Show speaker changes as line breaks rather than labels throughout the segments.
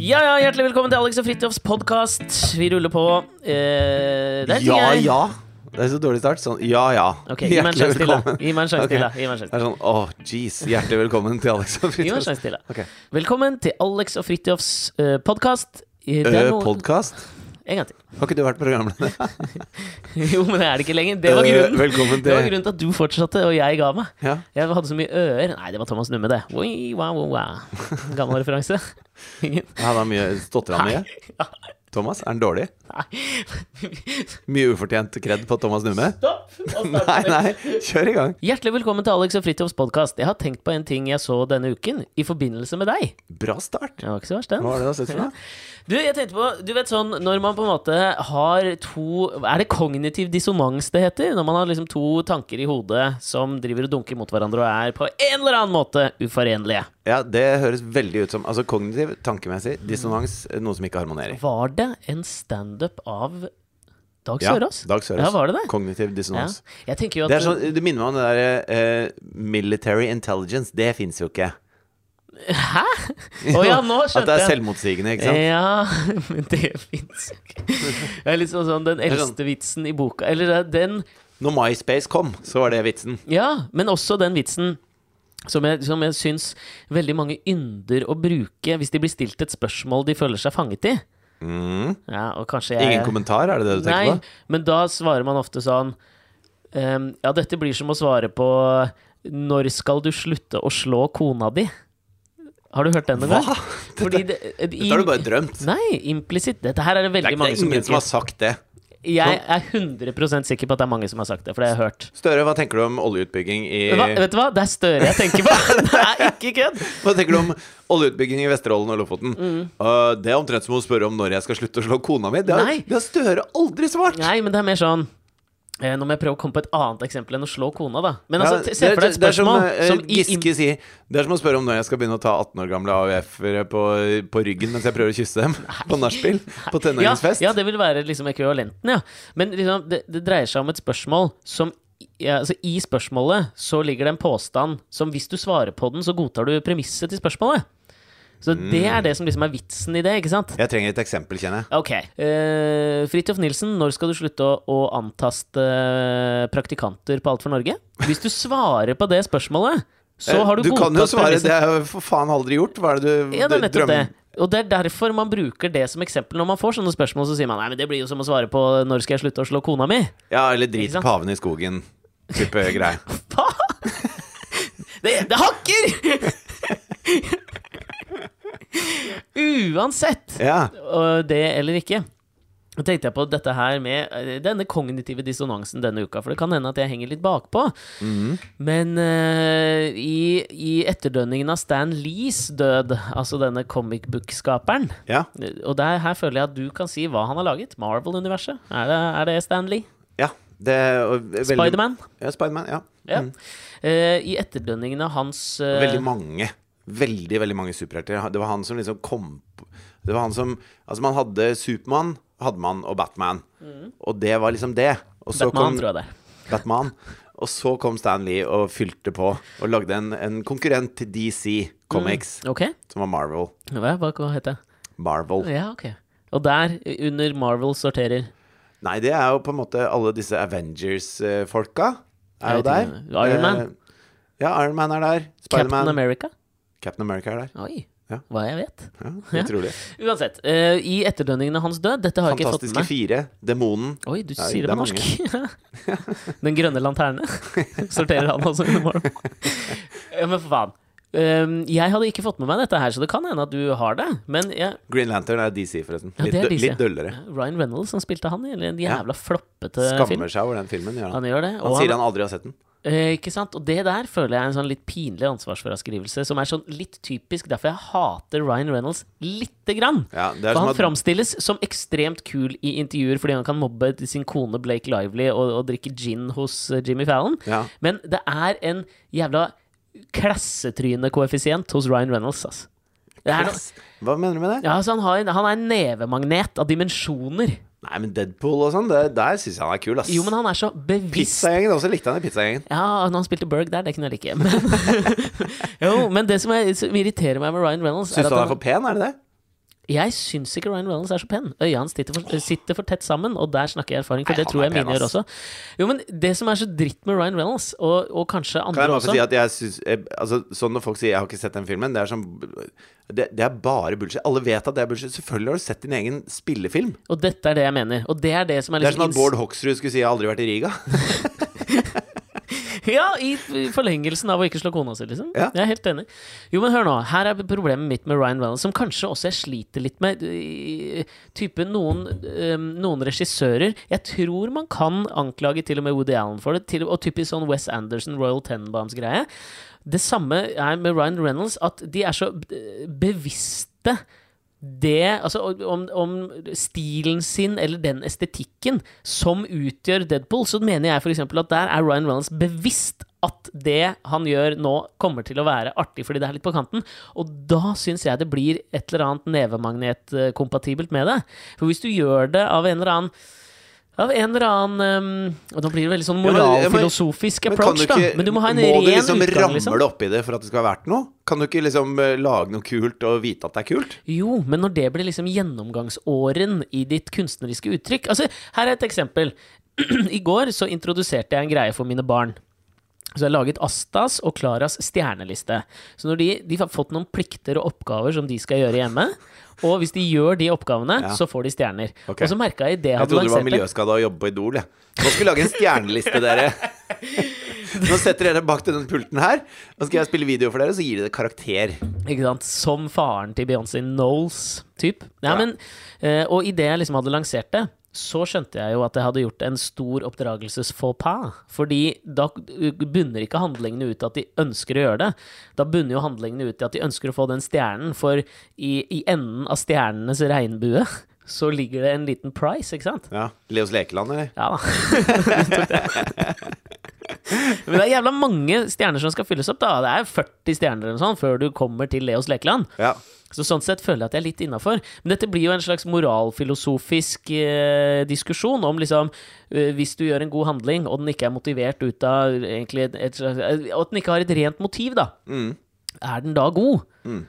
Ja, ja, Hjertelig velkommen til Alex og Fridtjofs podkast. Vi ruller på. Eh, det er ting
Ja,
jeg
ja. Det er så dårlig start. Sånn, ja, ja.
Ok, Gi meg en sjanse til, da. Gi meg en sjanse
Ok.
til, da. Gi meg en
Det
sjanse til.
er sånn, åh, jeez. Hjertelig velkommen til Alex og
Gi meg en
Fritjof.
sjanse til, da.
Ok.
Velkommen til Alex og Fridtjofs eh, podkast. Eh, det er
Ø,
noen-
Podcast.
En gang til.
Har ikke du vært programleder?
Jo, men det er det ikke lenger. Det var
Ø,
grunnen.
Velkommen
Det var
til
grunnen til at du fortsatte, og jeg ga meg.
ja.
Jeg hadde så mye ører. Nei, det var Thomas Numme, det. Oi, wow, wow, wow. Gammel referanse. Ingen?
Han har mye Stotrer han mye? Thomas, er han dårlig?
Nei.
Mye ufortjent kred på Thomas Numme?
Stopp!
Nei, nei, kjør i gang.
Hjertelig velkommen til Alex og Fridtjofs podkast. Jeg har tenkt på en ting jeg så denne uken, i forbindelse med deg.
Bra start.
Det var ikke så verst, den.
Hva var det du har sett for noe?
Du, jeg tenkte på, du vet sånn, når man på en måte har to Er det kognitiv dissonans det heter? Når man har liksom to tanker i hodet som driver og dunker mot hverandre og er på en eller annen måte uforenlige.
Ja, det høres veldig ut som Altså kognitiv, tankemessig, dissonans, noe som ikke harmonerer.
Var det en standup av Dag
Ja,
Sørås?
Dag Sørås.
Ja, var det det?
Kognitiv
Ja.
dissonans.
Jeg tenker jo at
Det, er sånn, det minner meg om det der eh, military intelligence. Det fins jo ikke.
Hæ?! Å ja, nå
At
skjønte Eh.
det er
jeg!
selvmotsigende, ikke sant?
Ja, men det fins jo ikke. Det er litt sånn sånn den
er sånn-
eldste vitsen i boka Eller det er den
Når MySpace kom, så var det vitsen.
Ja, men også den vitsen som jeg, som jeg syns veldig mange ynder å bruke hvis de blir stilt et spørsmål de føler seg fanget i.
Mm.
Ja, og kanskje jeg
Ingen kommentar, er det det du tenker
Nei, men da svarer man ofte sånn ehm, Ja, dette blir som å svare på Når skal du slutte å slå kona di? Har du hørt den
på?
noen gang?
Hva?!
Fordi
Dette,
det,
dette har du bare drømt.
Nei, implisitt. Dette her er det
Det er,
veldig
ikke-
mange
det er
som
ingen som
bruker.
har sagt det.
Jeg er 100 sikker på at det er mange som har sagt det, for det har jeg hørt.
Støre, hva tenker du om oljeutbygging i
Hva, vet du hva? Det er Støre jeg tenker på! Det er ikke kødd!
Hva tenker du om oljeutbygging i Vesterålen og Lofoten?
Mm.
Uh, det er omtrent som å spørre om når jeg skal slutte å slå kona mi. Det har,
Nei.
det har Støre aldri svart!
Nei, men det er mer sånn eh, Nå må jeg prøve å komme på et annet eksempel enn å slå kona, da. Men altså,
Ja,
se for deg et spørsmål
det er
som,
som, eh,
i-
Giske sier Det er som å spørre om når jeg skal begynne å ta 18 år gamle AUF-ere på, på ryggen mens jeg prøver å kysse dem på nachspiel på
ja,
tenåringsfest.
ja, det vil være liksom ekvivalenten, ja. Men liksom, det, det dreier seg om et spørsmål som i- ja, altså, I spørsmålet så ligger det en påstand som hvis du svarer på den, så godtar du premisset til spørsmålet. Så det
Mm.
er det som liksom er vitsen i det, ikke sant?
Jeg trenger et eksempel, kjenner jeg.
Ok. Uh, Fridtjof Nilsen, når skal du slutte å, å antaste eh, praktikanter på Alt for Norge? Hvis du svarer på det spørsmålet, så
Eh,
har du,
du kan jo
godtatt
svare
premisset.
det har jeg for faen aldri gjort. Hva er det du
Ja, det er
du
nettopp det.
drømmer-
Og det er derfor man bruker det som eksempel når man får sånne spørsmål. Så sier man nei, men det blir jo som å svare på 'når skal jeg slutte å slå kona mi'?
Ja, eller
Ikke
drit
sant?
paven i skogen. Type greie.
Hva?! Det, det hakker! Uansett.
Ja.
Og det eller ikke. Da tenkte jeg på dette her med eh, denne kognitive dissonansen denne uka, for det kan hende at jeg henger litt bakpå.
Mhm.
Men eh, i, i etterdønningen av Stan Lees død, altså denne comic book-skaperen
Ja.
eh, Og der, her føler jeg at du kan si hva han har laget. Marvel-universet. Er, det- er det Stan Lee?
ja. Det er jo eh, veldig,
Spiderman?
Ja, Spiderman. Ja.
Ja.
Mm.
Eh, I etterdønningene av hans eh,
Veldig mange. Veldig, veldig mange superhelter. Det var han som liksom kom på- Det var han som Altså, man hadde Supermann, hadde man, og Batman. Og det var liksom det. Og så
Mm. Batman,
kom
tror jeg det er.
Batman. Og så kom Stan Lee og fylte på og lagde en, en konkurrent til DC Comics,
Ok,
som var Marvel.
hva, hva hva heter det?
Marvel.
Ja, ok. Og der, eh, under Marvel, sorterer
Nei, det er jo på en måte alle disse Avengers-folka er
Jeg
jo
vet
der.
ikke. Iron Man.
Eh, Ja, Iron Man er der.
Captain
Spiderman.
America.
Captain America er der.
Oi,
Ja.
hva jeg vet.
Ja,
Ja.
utrolig.
Uansett, eh, i etterdønningene av hans død Dette har jeg ikke fått med
Fantastiske
meg.
fire. Demonen.
Oi, du
Nei,
sier det
det er
på norsk. Den grønne lanterne. Sorterer han også under morgen. Ja, men for faen. Um, jeg hadde ikke fått med meg dette her, så det kan hende at du har det. Men jeg,
Green Lantern er DC, forresten.
Ja,
Litt,
det er
dø-
DC.
litt døllere.
Ryan Reynolds som spilte han i en
Ja.
jævla floppete film.
Skammer seg over den filmen. Gjør han.
Han gjør det.
han
og
sier han aldri har sett den.
Eh, ikke sant? Og det der føler jeg er en sånn litt pinlig ansvarsfraskrivelse, som er sånn litt typisk derfor jeg hater Ryan Reynolds lite grann.
Ja, det er
For
som
han
at-
framstilles som ekstremt kul i intervjuer fordi han kan mobbe sin kone Blake Lively og, og drikke gin hos eh, Jimmy Fallon.
Ja.
Men det er en jævla klassetrynekoeffisient hos Ryan Reynolds, altså. Det er noe,
Yes. Hva mener du med det?
ja, altså han, har en, han er en nevemagnet av dimensjoner.
Nei, men Deadpool og sånn, det- der syns jeg han er kul, ass.
Jo, men han er så bevisst
Pizzagjengen også likte han i Pizzagjengen.
Ja, når han spilte Berg der, det kunne jeg like. Men, jo, men det som, er, som irriterer meg med Ryan Reynolds
Syns
er
du
at
han er for pen, er det det?
Jeg syns ikke Ryan Reynolds er så pen. Øya hans sitter for, sitter for tett sammen, og der snakker jeg erfaring, for
Nei,
det
han
tror
er
jeg
pen,
mine gjør
ass.
også. Jo, men det som er så dritt med Ryan Reynolds, og, og kanskje
Kan
andre
jeg bare få
også
si at jeg synes, jeg, altså, Sånn når folk sier 'jeg har ikke sett den filmen', det er, som, det, det er bare bullshit. Alle vet at det er bullshit. Selvfølgelig har du sett din egen spillefilm.
Og dette er det jeg mener. Og det er det som er
Det er
liksom
som at Bård Hoksrud skulle si 'jeg har aldri vært i Riga'.
Ja, i f- forlengelsen av å ikke slå kona si, liksom.
Ja.
Jeg er helt enig. Jo, men hør nå. Her er problemet mitt med Ryan Reynolds, som kanskje også jeg sliter litt med. øh, Type noen, øhm, noen regissører Jeg tror man kan anklage til og med Woody Allen for det, til, og typisk sånn Wes Anderson, Royal Tenenbaums-greie. Det samme er med Ryan Reynolds, at de er så øh, bevisste det, altså om, om stilen sin eller den estetikken som utgjør Deadpool, så mener jeg f.eks. at der er Ryan Reynolds bevisst at det han gjør nå, kommer til å være artig fordi det er litt på kanten. Og da syns jeg det blir et eller annet nevemagnetkompatibelt med det. For hvis du gjør det av en eller annen av en eller annen um, Og da blir det veldig sånn
Ja, men- ja, men-
moralfilosofisk approach, da. Men du må ha en
du
ren
liksom
utgang,
ramle
liksom.
oppi det for at det skal være verdt noe? Kan du ikke liksom eh, lage noe kult og vite at det er kult?
Jo, men når det blir liksom gjennomgangsåren i ditt kunstneriske uttrykk Altså, her er et eksempel. I går så introduserte jeg en greie for mine barn. Så jeg har laget Astas og Klaras stjerneliste. Så når de, de har fått noen plikter og oppgaver som de skal gjøre hjemme. Og hvis de gjør de oppgavene,
Ja.
så får de stjerner.
Ok.
Og så merka jeg i det jeg
Jeg
hadde
trodde det var
lansert det
miljøskada å jobbe på Idol, jeg. Nå skal vi lage en stjerneliste, dere. Nå setter dere bak til den pulten her, og skal jeg spille video for dere, så gir dere karakter.
Ikke sant? Som faren til Beyoncé Knowles, typ. Nei,
Ja.
men, eh, og idet jeg liksom hadde lansert det, så skjønte jeg jo at jeg hadde gjort en stor oppdragelses faux pas. Fordi da bunner ikke handlingene ut i at de ønsker å gjøre det. Da bunner jo handlingene ut i at de ønsker å få den stjernen, for i, i enden av stjernenes regnbue så ligger det en liten price, ikke sant?
Ja. Leos Lekeland, eller?
Ja da. Du tok det. Men det er jævla mange stjerner som skal fylles opp, da. Det er 40 stjerner eller noe sånt før du kommer til Leos lekeland.
Ja.
Så sånn sett føler jeg at jeg er litt innafor. Men dette blir jo en slags moralfilosofisk eh, diskusjon om liksom eh, Hvis du gjør en god handling, og den ikke er motivert ut av egentlig et, et slags eh, Og at den ikke har et rent motiv, da.
Mm.
Er den da god?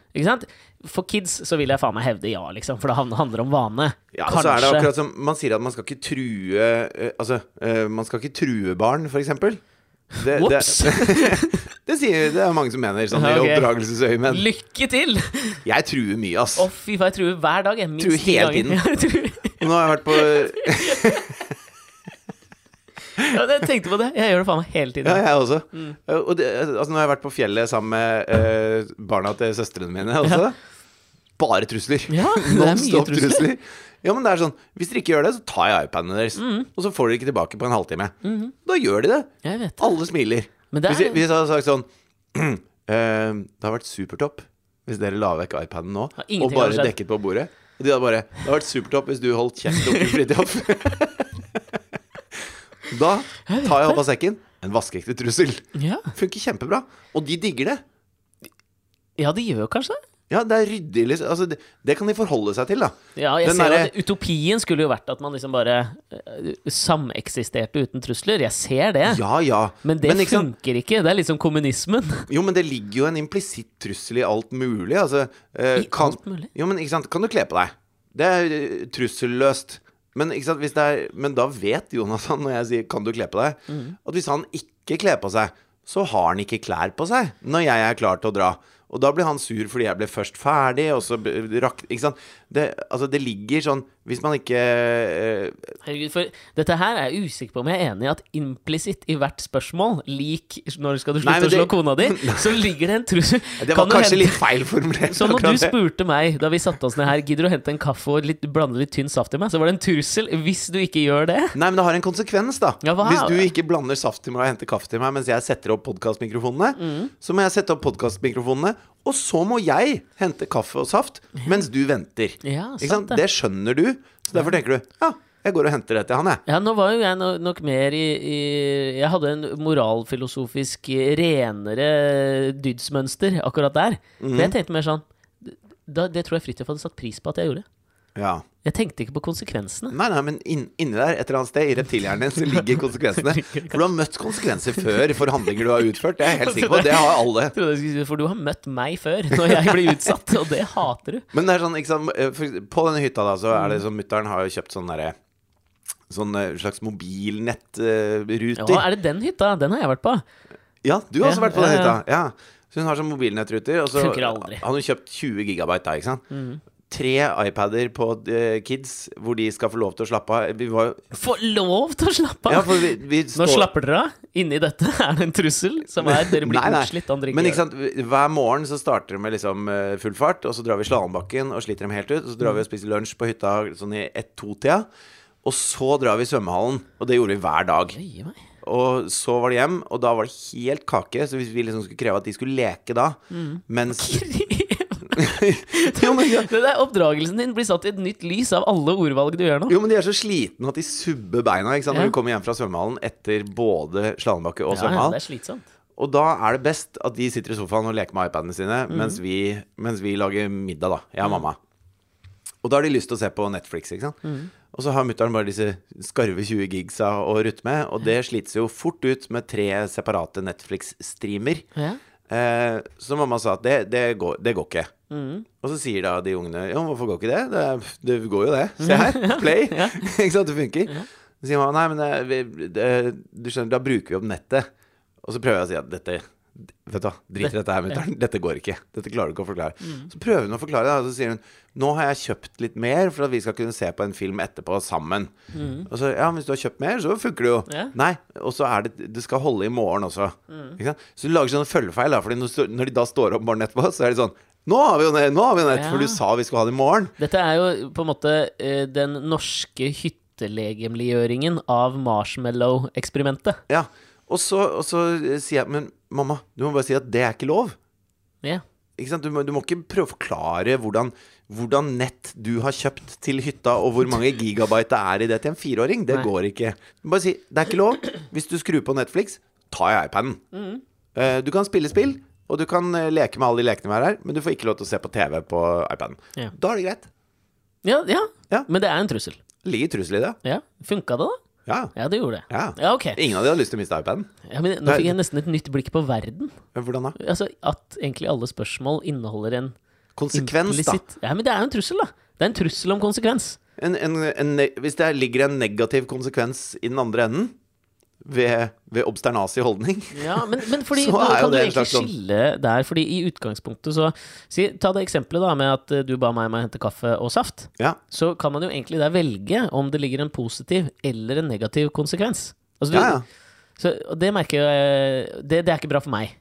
Ikke sant? For kids så vil jeg faen meg hevde ja, liksom, for det han- handler om vane.
Ja, og så er det akkurat som Man sier at man skal ikke true eh, Altså, eh, man skal ikke true barn, for eksempel. Det, det,
Ops!
det sier det er mange som mener, sånn i
Ja, ok.
oppdragelsesøyemed.
Lykke til! Å,
Jeg truer mye, ass.
fy faen, jeg truer hver dag. Jeg minst
Truer
ti
hele
ganger.
tiden.
Jeg truer-
Nå har jeg vært på
Ja, Jeg tenkte på det. Jeg gjør det faen meg hele
Ja,
tiden.
jeg også.
Mm.
Eh, Og det, altså, nå har jeg vært på fjellet sammen med eh, barna til søstrene mine også. Bare trusler.
Ja, det er mye
Nonstop
trusler.
Ja, men det er sånn Hvis dere ikke gjør det, så tar jeg iPadene deres.
Mm.
Og så får dere ikke tilbake på en halvtime.
Mm-hmm.
Da gjør de det.
Jeg vet det.
Alle smiler.
Men det er-
Hvis, jeg, hvis jeg hadde sagt sånn eh, Det har vært supertopp hvis dere la vekk iPaden nå
Ja, ingenting
og bare
hadde skjedd.
dekket på bordet. Og de hadde bare Det har vært supertopp hvis du holdt kjeft, onkel Fridtjof. da tar jeg opp av sekken en vaskeekte trussel.
Ja,
Funker kjempebra. Og de digger det.
ja det gjør kanskje det.
Ja, det er ryddig. Liksom. Altså, det, det kan de forholde seg til, da.
Ja, jeg
Den
ser jo
derre-
at Utopien skulle jo vært at man liksom bare eh, sameksisterte uten trusler. Jeg ser det.
Ja, ja.
Men det
ikke sant?
funker ikke. Det er litt som kommunismen.
Jo, men det ligger jo en implisitt trussel i alt mulig. Altså, eh,
I alt mulig?
Jo, men ikke sant, kan du kle på deg? Det er eh, trusselløst. Men, ikke sant, hvis det er, men da vet Jonas han, når jeg sier 'kan du kle på deg',
Mm.
at hvis han ikke kler på seg, så har han ikke klær på seg når jeg er klar til å dra. Og da blir han sur fordi jeg ble først ferdig, og så b- rakk Ikke sant. Det, altså, det ligger sånn Hvis man ikke eh,
Herregud, for dette her er jeg usikker på om jeg er enig i at implisitt i hvert spørsmål, lik når skal du
Nei,
slutte
men
å slå
det-
kona di, så ligger det en trussel.
Det var
Kan du
kanskje
hente-
litt feil formulert.
Så når
akkurat
du
det.
spurte meg da vi satte oss ned her, gidder du å hente en kaffe og litt, blande litt tynn saft i meg, så var det en trussel hvis du ikke gjør det.
Nei, men det har en konsekvens, da.
Ja, hva-
Hvis du ikke blander saft til meg og henter kaffe til meg mens jeg setter opp podkastmikrofonene,
Mm.
så må jeg sette opp podkastmikrofonene, og så må jeg hente kaffe og saft mens du venter.
Ja,
ikke
sant
sant?
det.
Det skjønner du, så derfor tenker du ja, jeg går og henter det til han, jeg.
Ja, nå var jo jeg no nok mer i, i Jeg hadde en moralfilosofisk eh, renere
Mhm.
dydsmønster akkurat der. For jeg tenkte mer sånn da, Det tror jeg Fridtjof hadde satt pris på at jeg gjorde.
Ja.
Jeg tenkte ikke på konsekvensene.
Nei, nei, men inn, inni der, et eller annet sted, i reptilhjernen din, så ligger konsekvensene. For du har møtt konsekvenser før for handlinger du har utført. Det er jeg helt sikker på. Det har alle.
Jeg trodde jeg skulle si, For du har møtt meg før, når jeg blir utsatt, og det hater du.
Men det er sånn, ikke sant eh, for, eks- På denne hytta da, så er
Mm.
det sånn Mutter'n har jo kjøpt sånn derre Sånn eh, slags
Ja,
mobilnettruter.
er det den hytta? Den har jeg vært på.
Ja, du har også
Ja,
vært på den
ja,
hytta. Ja. Så hun har sånn mobilnettruter, og så
Funker aldri. Mm.
har hun kjøpt 20 gigabyte da, ikke sant. Tre iPader på eh, kids, hvor de skal få lov til å slappe av. Vi var jo
Få lov til å slappe
Ja,
av!
for vi, vi
Nå
står-
slapper dere av. Inni dette er det en trussel som er dere blir
Nei, nei.
utslitt av
Men ikke
drikke.
sant, hver morgen så starter de med liksom eh, full fart, og så drar vi slalåmbakken og sliter dem helt ut. Og så drar
Mm.
vi og spiser lunsj på hytta sånn i ett-to-tida. Og så drar vi i svømmehallen, og det gjorde vi hver dag.
Jøye meg.
Og så var det hjem, og da var det helt kake. Så hvis vi liksom skulle kreve at de skulle leke da,
Mm.
mens jo, men, ja.
Det der Oppdragelsen din blir satt i et nytt lys av alle ordvalg du gjør nå.
jo, men de er så slitne at de subber beina ikke sant,
Ja.
når de kommer hjem fra svømmehallen etter både slalåmbakke og
Ja, ja,
svømmehall.
det er slitsomt.
Og da er det best at de sitter i sofaen og leker med iPadene sine mens, vi, mens vi lager middag, da. Jeg og mamma. Og da har de lyst til å se på Netflix, ikke sant. Og så har mutter'n bare disse skarve 20 gigsa å rutte med, og det slites jo fort ut med tre separate Netflix-streamer.
Ja.
Eh, så mamma sa at det, det, går, det går ikke. Og så sier da de ungene Ja, hvorfor går ikke det? Det, er- det går jo det. Se her. Play. ikke sant, det funker. Så sier mamma nei, men det, vi, det, du skjønner, da bruker vi opp nettet. Og så prøver jeg å si at dette Vet du hva, drit i dette her, mutter'n. Dette går ikke. Dette klarer du ikke å forklare. Så prøver hun å forklare det, og så sier hun nå har jeg kjøpt litt mer for at vi skal kunne se på en film etterpå sammen. Og så, ja, men Hvis du har kjøpt mer, så funker det jo.
Ja.
Nei, og så er det Det skal holde i morgen også. Ikke sant? Så du lager sånne følgefeil, da, Fordi når, sto- når de da står opp morgenen etterpå, så er det sånn Nå har vi jo nett, nå har vi jo nett
Ja.
for du sa vi skulle ha det i morgen.
Dette er jo på en måte eh, den norske hyttelegemliggjøringen av marshmallow-eksperimentet.
Ja. Og så, og så eh, sier jeg Men mamma, du må bare si at det er ikke lov.
Ja.
Ikke sant? Du, må, du må ikke prøve å forklare hvordan, hvordan nett du har kjøpt til hytta, og hvor mange gigabyte det er i det til en fireåring. Det
Nei.
går ikke. Du må Bare si 'det er ikke lov'. Hvis du skrur på Netflix, tar jeg iPaden.
Mm.
Eh, Du kan spille spill, og du kan eh, leke med alle de lekene vi har her, men du får ikke lov til å se på TV på iPaden.
Ja.
Da er det greit.
Ja, ja.
Ja.
men det er en trussel.
Ligger trussel i det.
Ja. Funka det, da?
Ja.
Ja, det gjorde det.
ja.
Ja, ok.
Ingen av de har lyst til å miste iPaden.
Ja, men nå fikk jeg nesten et nytt blikk på verden.
Men Hvordan da?
Altså At egentlig alle spørsmål inneholder en
Konsekvens, da.
implisitt Ja, men det er jo en trussel, da. Det er en trussel om konsekvens.
En, en, en, ne- hvis det ligger en negativ konsekvens i den andre enden, ved, ved obsternasig holdning
Ja, men, men fordi,
Så
nå
er jo
kan du
det en
egentlig
slags sånn-
skille der, fordi i utgangspunktet så si, Ta det eksempelet da med at eh, du ba meg om å hente kaffe og saft.
Ja.
Så kan man jo egentlig der velge om det ligger en positiv eller en negativ konsekvens. Altså, du,
Ja, ja.
Så, og det merker jeg eh, det, det er ikke bra for meg.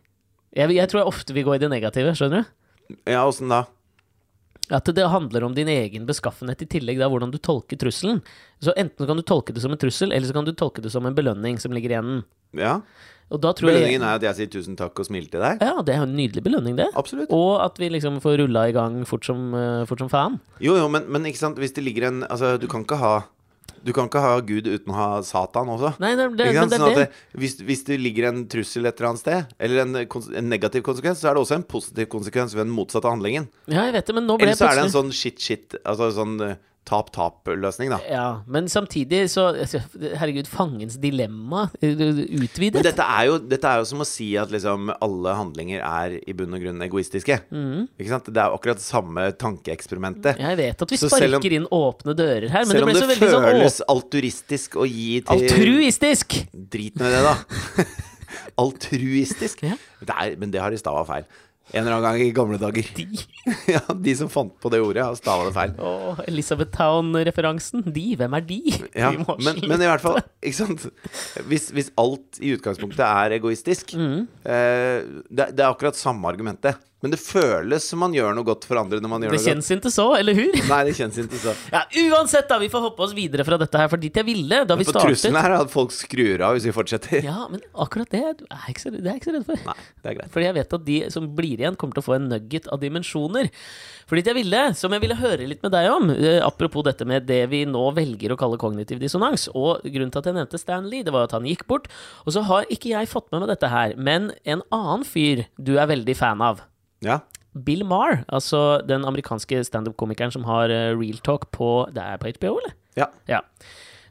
Jeg, jeg tror jeg ofte vil gå i det negative, skjønner du?
Ja, åssen da?
At det handler om din egen beskaffenhet i tillegg, da hvordan du tolker trusselen. Så enten kan du tolke det som en trussel, eller så kan du tolke det som en belønning som ligger i enden.
Ja.
Og da tror jeg
Belønningen er at jeg sier tusen takk og smiler til deg.
Ja, det er jo en nydelig belønning, det.
Absolutt.
Og at vi liksom får rulla i gang fort som, eh, fort som faen.
Jo, jo, men, men ikke sant, hvis det ligger en Altså, du kan ikke ha Du kan ikke ha Gud uten å ha Satan også.
Nei, det, det,
Ikke
men
sant?
det
Sånn
er
at
det.
det, hvis, hvis det ligger en trussel et eller annet sted, eller en, kons- en negativ konsekvens, så er det også en positiv konsekvens ved den motsatte handlingen.
Ja, jeg vet det, men nå ble
Eller
jeg
så er det en
plutselig
sånn shit-shit, altså sånn eh, tap-tap-løsning, da.
ja, Men samtidig så altså, Herregud, fangens dilemma eh,
Men
utvidet.
dette er, jo, dette er jo som å si at liksom alle handlinger er i bunn og grunn egoistiske.
Mm.
Ikke sant? Det er jo akkurat det samme tankeeksperimentet.
Jeg vet at vi
Så selv om-
sparker inn åpne dører her, men det
Selv om
ble
det
så veldig sånn
føles
åpent.
alturistisk å gi til
Altruistisk!
Drit med det, da. Altruistisk.
Ja.
Det er, men det har de stava feil. En eller annen gang i gamle dager.
De.
ja, de som fant på det ordet, har stava det feil.
Å, Elizabeth Town-referansen. De, hvem er de?
Ja,
Vi må
men,
slutte.
men i hvert fall, ikke sant Hvis, hvis alt i utgangspunktet er egoistisk
Mm.
eh, det, det er akkurat samme argumentet. Men det føles som man gjør noe godt for andre når man gjør
Det
noe godt.
kjennes ikke så, eller hur?
Nei, det kjennes ikke sånn.
Ja, Uansett, da! Vi får hoppe oss videre fra dette her, for dit jeg ville da vi
For trusselen
startet.
her er at folk skrur av hvis vi fortsetter.
Ja, men akkurat det er jeg ikke så, det er jeg ikke så redd for.
Nei, det er greit.
Fordi jeg vet at de som blir igjen, kommer til å få en nugget av dimensjoner. For dit jeg ville, som jeg ville høre litt med deg om, eh, apropos dette med det vi nå velger å kalle kognitiv dissonans, og grunnen til at jeg nevnte Stanley, det var at han gikk bort. Og så har ikke jeg fått med meg dette her, men en annen fyr du er veldig fan av.
Ja.
Bill Marr, altså den amerikanske standup-komikeren som har eh, Real Talk på Det er på HBO, eller?
Ja.
Ja.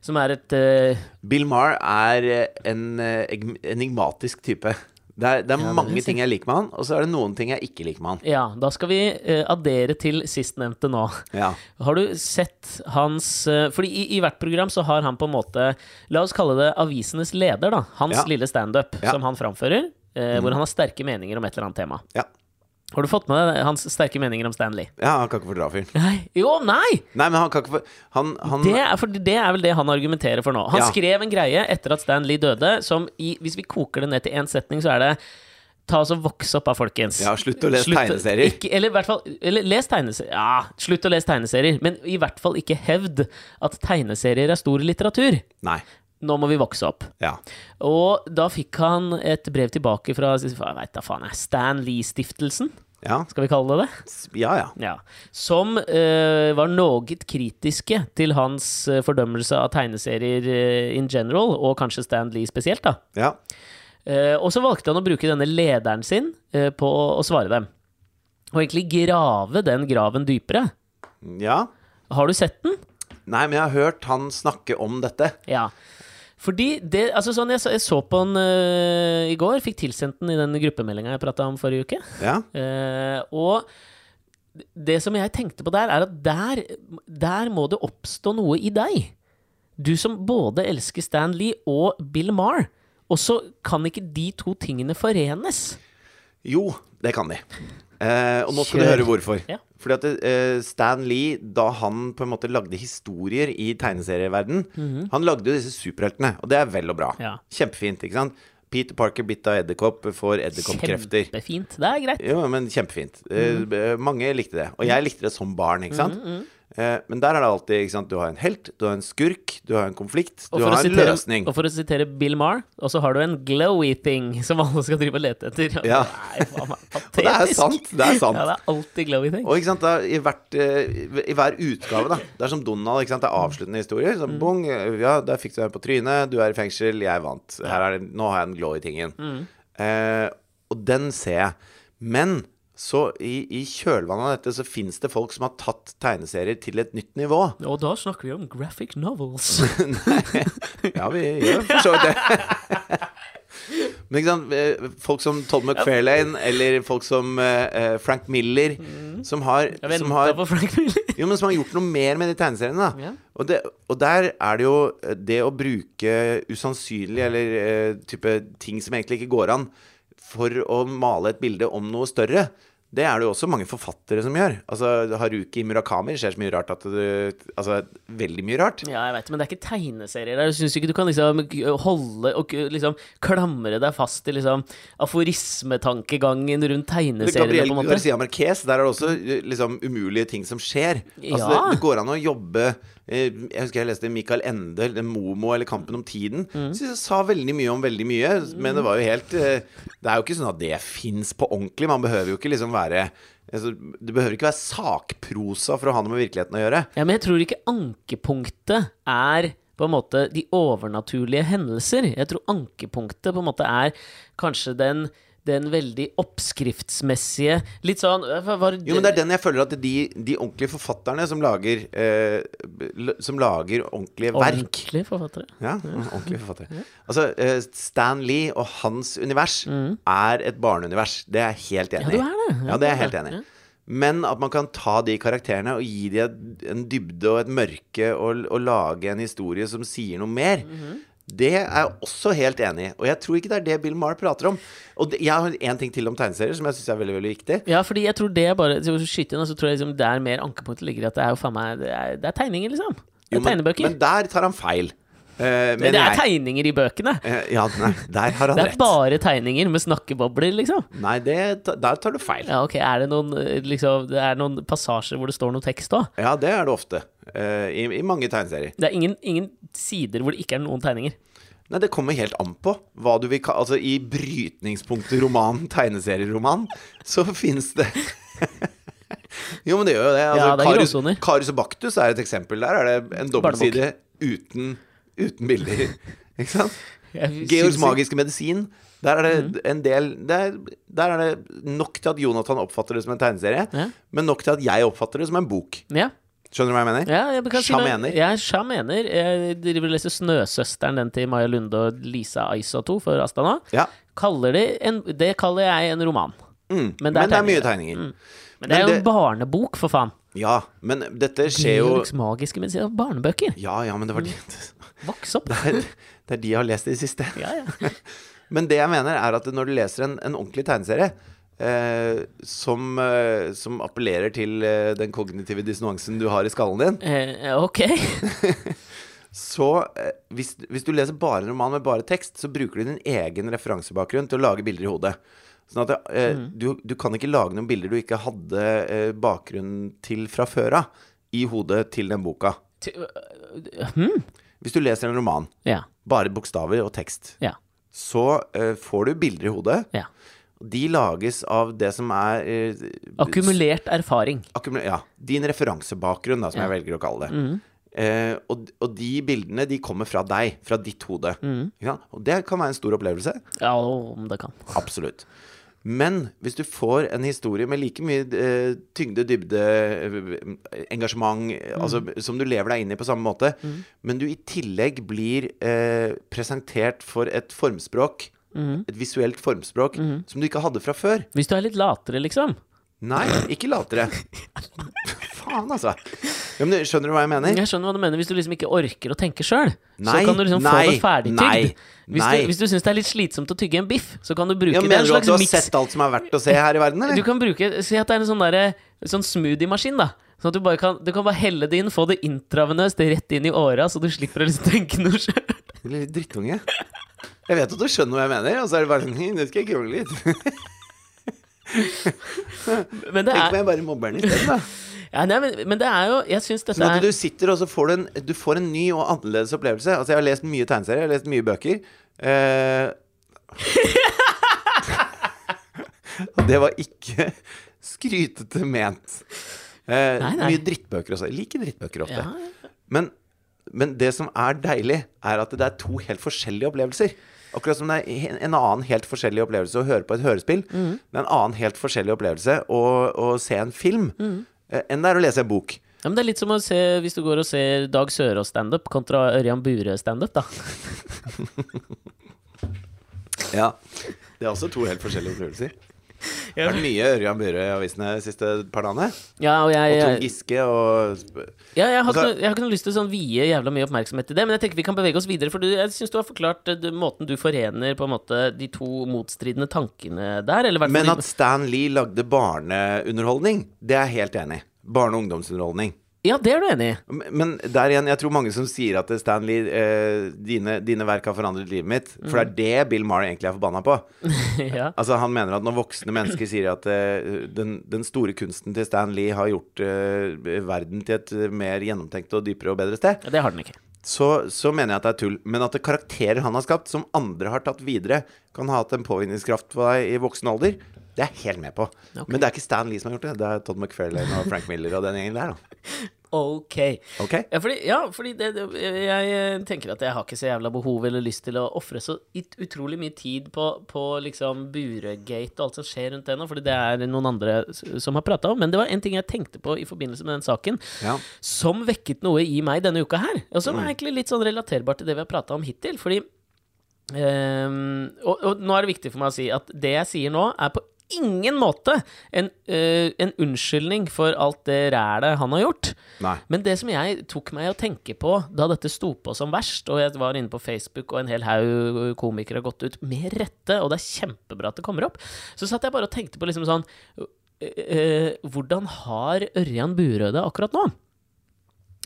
Som er et eh,
Bill Marr er eh, en eh, eg- enigmatisk type. Det er, det
det
er
vil
mange
jeg si.
ting jeg liker med han, og så er det noen ting jeg ikke liker med han.
Ja, da skal vi eh, addere til sistnevnte nå.
Ja.
Har du sett hans eh, Fordi i, i hvert program så har han på en måte La oss kalle det avisenes leder, da. Hans
Ja.
lille standup
Ja. Mhm.
som han framfører. eh, Hvor han har sterke meninger om et eller annet tema.
Ja.
Har du fått med deg hans sterke meninger om Stanley?
ja, han kan ikke fordra fyren.
Nei. Jo, nei!
Nei, men han kan ikke for... Han, han
Det er, for det er vel det han argumenterer for nå. Han
Mm. Ja.
skrev en greie etter at Stan Lee døde, som i, hvis vi koker det ned til én setning, så er det Ta oss og voks opp da, folkens.
Ja, slutt å lese
Slutt-
tegneserier.
Ikke, eller i hvert fall eller, les tegneserier. Ja, slutt å lese tegneserier. Men i hvert fall ikke hevd at tegneserier er stor litteratur.
Nei.
Nå må vi vokse opp.
Ja.
Og da fikk han et brev tilbake fra jeg vet da faen, jeg, Stan Lee-stiftelsen,
Ja.
skal vi kalle det det?
S- ja, ja.
Ja. Som eh, var noe kritiske til hans eh, fordømmelse av tegneserier eh, in general, og kanskje Stan Lee spesielt. da.
ja.
Eh, og så valgte han å bruke denne lederen sin eh, på å, å svare dem. Og egentlig grave den graven dypere.
Ja.
Har du sett den?
Nei, men jeg har hørt han snakke om dette.
Ja. Fordi det, altså sånn Jeg så, jeg så på den eh, i går, fikk tilsendt den i den gruppemeldinga jeg prata om forrige uke.
Ja.
Eh, og det som jeg tenkte på der, er at der, der må det oppstå noe i deg. Du som både elsker Stan Lee og Bill Marr. Og så kan ikke de to tingene forenes.
Jo, det kan de. Eh, og nå skal du
Kjør.
høre hvorfor.
Ja.
Fordi at eh, Stan Lee, da han på en måte lagde historier i tegneserieverden Han lagde jo disse superheltene, og det er vel og bra.
Mhm. Ja.
Kjempefint, ikke sant? Peter Parker bitt av edderkopp, får edderkoppkrefter.
Kjempefint. Det er greit.
Jo, men kjempefint. Eh,
Mhm.
b- mange likte det. Og jeg likte det som barn, ikke sant? Eh, men der er det alltid ikke sant? Du har en helt, du har en skurk, du har en konflikt,
Og
du
for, å
har en
sitere,
løsning.
og for å sitere Bill Marr, og så har du en glowy thing som alle skal drive og lete etter.
Ja.
Nei, faen meg,
Og det er
patetisk.
sant! Det er sant.
Ja, det er alltid glowy thing.
Og ikke sant, da, i, hvert, eh, i hver utgave, da. Det er som Donald. ikke sant, Det er avsluttende historier. Så,
Mm.
bong, ja, der fikk du deg på trynet, du er i fengsel, jeg vant. Her er det, nå har jeg en glow i tingen.
Mm.
Eh, og den ser jeg. Men så i, i kjølvannet av dette så fins det folk som har tatt tegneserier til et nytt nivå.
Og da snakker vi om graphic novels.
Ja, vi gjør for så vidt det. Men ikke sant, eh, folk som Todd McFarlane, eller folk som eh, eh, Frank Miller, som har,
Mm. Jeg venter
som har
på Frank Miller.
Jo, men som har gjort noe mer med de tegneseriene, da.
Ja.
Og, det, og der er det jo eh, det å bruke usannsynlige eller eh, type ting som egentlig ikke går an, for å male et bilde om noe større. Det er det jo også mange forfattere som gjør. Altså, Haruki Murakami det skjer så mye rart at du Altså, veldig mye rart.
Ja, jeg vet, men det er ikke tegneserier der. Jeg syns ikke du kan liksom k- holde og k- liksom klamre deg fast til liksom aforismetankegangen rundt tegneseriene,
Gabriel
på en måte.
Garcia Marquez, der er det også eh, liksom, umulige ting som skjer.
Ja.
Altså, det, det går an å jobbe eh, Jeg husker jeg leste Michael Ende, eller Momo eller Kampen om tiden.
Mm.
Synes jeg sa veldig mye om veldig mye, men det var jo helt eh, Det er jo ikke sånn at det fins på ordentlig. Man behøver jo ikke liksom være altså, Det behøver ikke være sakprosa for å ha noe med virkeligheten å gjøre.
Ja, men jeg tror ikke ankepunktet er på en måte de overnaturlige hendelser. Jeg tror ankepunktet på en måte er kanskje den, den veldig oppskriftsmessige Litt sånn hva var det-
Jo, men det er den jeg føler at de, de ordentlige forfatterne som lager, eh, l- som lager ordentlige verk
Ordentlige forfattere.
Ja, ordentlig forfatter. Altså, eh, Stan Lee og hans univers er et barneunivers. Det er jeg helt
Mm.
enig i.
Ja, du er det. Ja,
Ja, det er jeg
du er
helt
det.
enig i. Men at man kan ta de karakterene og gi dem en dybde og et mørke, og, og lage en historie som sier noe mer.
Mhm.
Det er jeg også helt enig i, og jeg tror ikke det er det Bill Marr prater om. Og det, jeg har en ting til om tegneserier som jeg syns er veldig veldig viktig.
Ja, fordi jeg tror det er bare så Skyt inn, og så tror jeg liksom der mer ankepunktet ligger. At det er jo faen meg Det er, det er tegninger, liksom. Det er
Jo, men,
tegnebøker.
men der tar han feil. Eh,
det,
mener
er
jeg.
tegninger i bøkene.
Eh, ja, nei, der har han
Det er
rett.
bare tegninger med snakkebobler, liksom.
Nei, det, der tar du feil.
Ja, ok, Er det noen, eh, liksom, det er noen passasjer hvor det står noe tekst òg?
Ja, det er det ofte. eh, i, I mange tegneserier.
Det er ingen, ingen sider hvor det ikke er noen tegninger.
Nei, det kommer helt an på hva du vil kalle Altså, i brytningspunktet roman, tegneserieroman, så fins det Jo, men det gjør jo det. Altså,
Ja, det er
Karius,
gråsoner.
Karius og Baktus er et eksempel. Der er det en dobbeltside uten, uten bilder. Ikke sant?
Jeg
Georgs
syns- Mm.
magiske medisin Der er det en del der, der er det nok til at Jonathan oppfatter det som en tegneserie,
Ja.
men nok til at jeg oppfatter det som en bok.
Ja.
Skjønner du hva jeg mener?
Ja, jeg kan si
Sjamener.
meg- Ja, sjamener. Jeg driver og leser 'Snøsøsteren', den til Maja Lunde og Lisa Aisa 2 for Asta nå.
Ja.
Kaller det, en, det kaller jeg en roman.
Mm.
Men
Men,
det er
det er
tegninger.
mye
Mm.
tegninger.
Men det er
Men
jo en
det-
barnebok, for faen.
Ja, men dette skjer jo
Georgs magiske medisin. det er Barnebøker.
Ja, ja, men det var de
Voks opp.
Det er, det er de jeg har lest i det siste.
Ja, ja.
Men det jeg mener er at når du leser en, en ordentlig tegneserie eh, som, eh, som appellerer til eh, den kognitive dissonansen du har i skallen din,
Eh, ok.
så eh, hvis, hvis du leser bare en roman med bare tekst, så bruker du din egen referansebakgrunn til å lage bilder i hodet. Sånn at eh, du, du kan ikke lage noen bilder du ikke hadde eh, bakgrunnen til fra før av, i hodet til den boka.
Ty- øh,
Hvis du leser en roman,
Ja.
bare bokstaver og tekst,
Ja.
så eh, får du bilder i hodet.
ja.
De lages av det som er eh,
Akkumulert erfaring.
akkumu- Ja, din referansebakgrunn, da, som jeg velger å kalle det. Eh, og, og de bildene de kommer fra deg, fra ditt hode. Ikke sant? Og det kan være en stor opplevelse.
Ja, om det kan.
Absolutt. Men hvis du får en historie med like mye eh, tyngde, dybde, eh, engasjement eh,
Mm.
altså, Som du lever deg inn i på samme måte, men du i tillegg blir eh, presentert for et formspråk,
Mm.
et visuelt formspråk, som du ikke hadde fra før.
Hvis du er litt latere, liksom.
Nei, ikke latere. Faen, altså. Ja, men, du- skjønner du hva jeg mener?
Jeg skjønner hva du mener. Hvis du liksom ikke orker å tenke sjøl, så
Nei,
kan du liksom få
nei,
det ferdigtygd.
nei,
Hvis
nei.
du, hvis du syns det er litt slitsomt å tygge en biff, så kan du bruke
Ja,
det. En
mener du at
slags
du har
miks-
sett alt som er verdt å se her i verden,
Du
eller?
kan bruke Si at det er en sånn, derre- sånn smoothie-maskin, da. Sånn at du bare kan, du kan bare helle det inn, få det intravenøst det er rett inn i åra, så du slipper å liksom tenke noe sjøl.
Lille drittunge. Jeg vet at du skjønner hva jeg mener, og så er det bare sånn «Hm, Nå skal jeg krangle litt.
Men, det
Tenk om
er-
jeg bare mobber den isteden, da.
ja, nei, men, men det er jo Jeg syns dette
Sånn at
er
du sitter, og så får du en, du får en ny og annerledes opplevelse. Altså, jeg har lest mye tegneserier, jeg har lest mye bøker. Eh, og det var ikke skrytete ment. Eh,
Nei, nei.
Mye drittbøker også. Jeg liker drittbøker ofte.
Ja,
Men, men det som er deilig, er at det er to helt forskjellige opplevelser. Akkurat som det er en- en annen helt forskjellig opplevelse å høre på et hørespill. Det er en annen helt forskjellig opplevelse å, å se en film eh, enn det er å lese en bok.
Ja, men det er litt som å se, hvis du går og ser Dag Sørås standup kontra Ørjan Bure standup, da.
Ja. Det er også to helt forskjellige opplevelser. Det har vært mye Ørjan Bure i avisene de siste par dagene.
Ja, og jeg,
Og Trond
jeg,
Giske og
ja, jeg, har ikke,
Altså-
noe- jeg har ikke noe lyst til å sånn vie jævla mye oppmerksomhet til det, men jeg tenker vi kan bevege oss videre, for du, jeg syns du har forklart eh, du- måten du forener på en måte de to motstridende tankene der, eller i hvert
Men
fall
at Stan Lee lagde barneunderholdning, det er jeg helt enig i. Barne- og ungdomsunderholdning.
Ja, det er du enig i?
Men der igjen, jeg tror mange som sier at Stan Lee, eh, dine, dine verk har forandret livet mitt. For det er det Bill Marr egentlig er forbanna på.
ja.
Altså Han mener at når voksne mennesker sier at eh, den, den store kunsten til Stan Lee har gjort eh, verden til et mer gjennomtenkt og dypere og bedre sted,
ja, det har den ikke.
så, så mener jeg at det er tull. Men at det karakterer han har skapt, som andre har tatt videre, kan ha hatt en påvirkningskraft på deg i voksen alder, det er jeg helt med på. Men det er ikke Stan Lee som har gjort det. Det er Todd McFarlane og Frank Miller og den gjengen der, da.
Ok.
Ok?
Ja, fordi, ja, fordi det, det, jeg eh, tenker at jeg har ikke så jævla behov eller lyst til å ofre så it- utrolig mye tid på, på liksom Buregate og alt som skjer rundt det nå, fordi det er noen andre s- som har prata om. Men det var en ting jeg tenkte på i forbindelse med den saken,
Ja.
som vekket noe i meg denne uka her, og som er egentlig litt sånn relaterbart til det vi har prata om hittil. fordi Ehm, og, og nå er det viktig for meg å si at det jeg sier nå, er på ingen måte en, eh, en unnskyldning for alt det rælet han har gjort.
Nei.
Men det som jeg tok meg å tenke på da dette sto på som verst, og jeg var inne på Facebook, og en hel haug komikere har gått ut med rette, og det er kjempebra at det kommer opp, så satt jeg bare og tenkte på liksom sånn eh, eh, Hvordan har Ørjan Burøe det akkurat nå?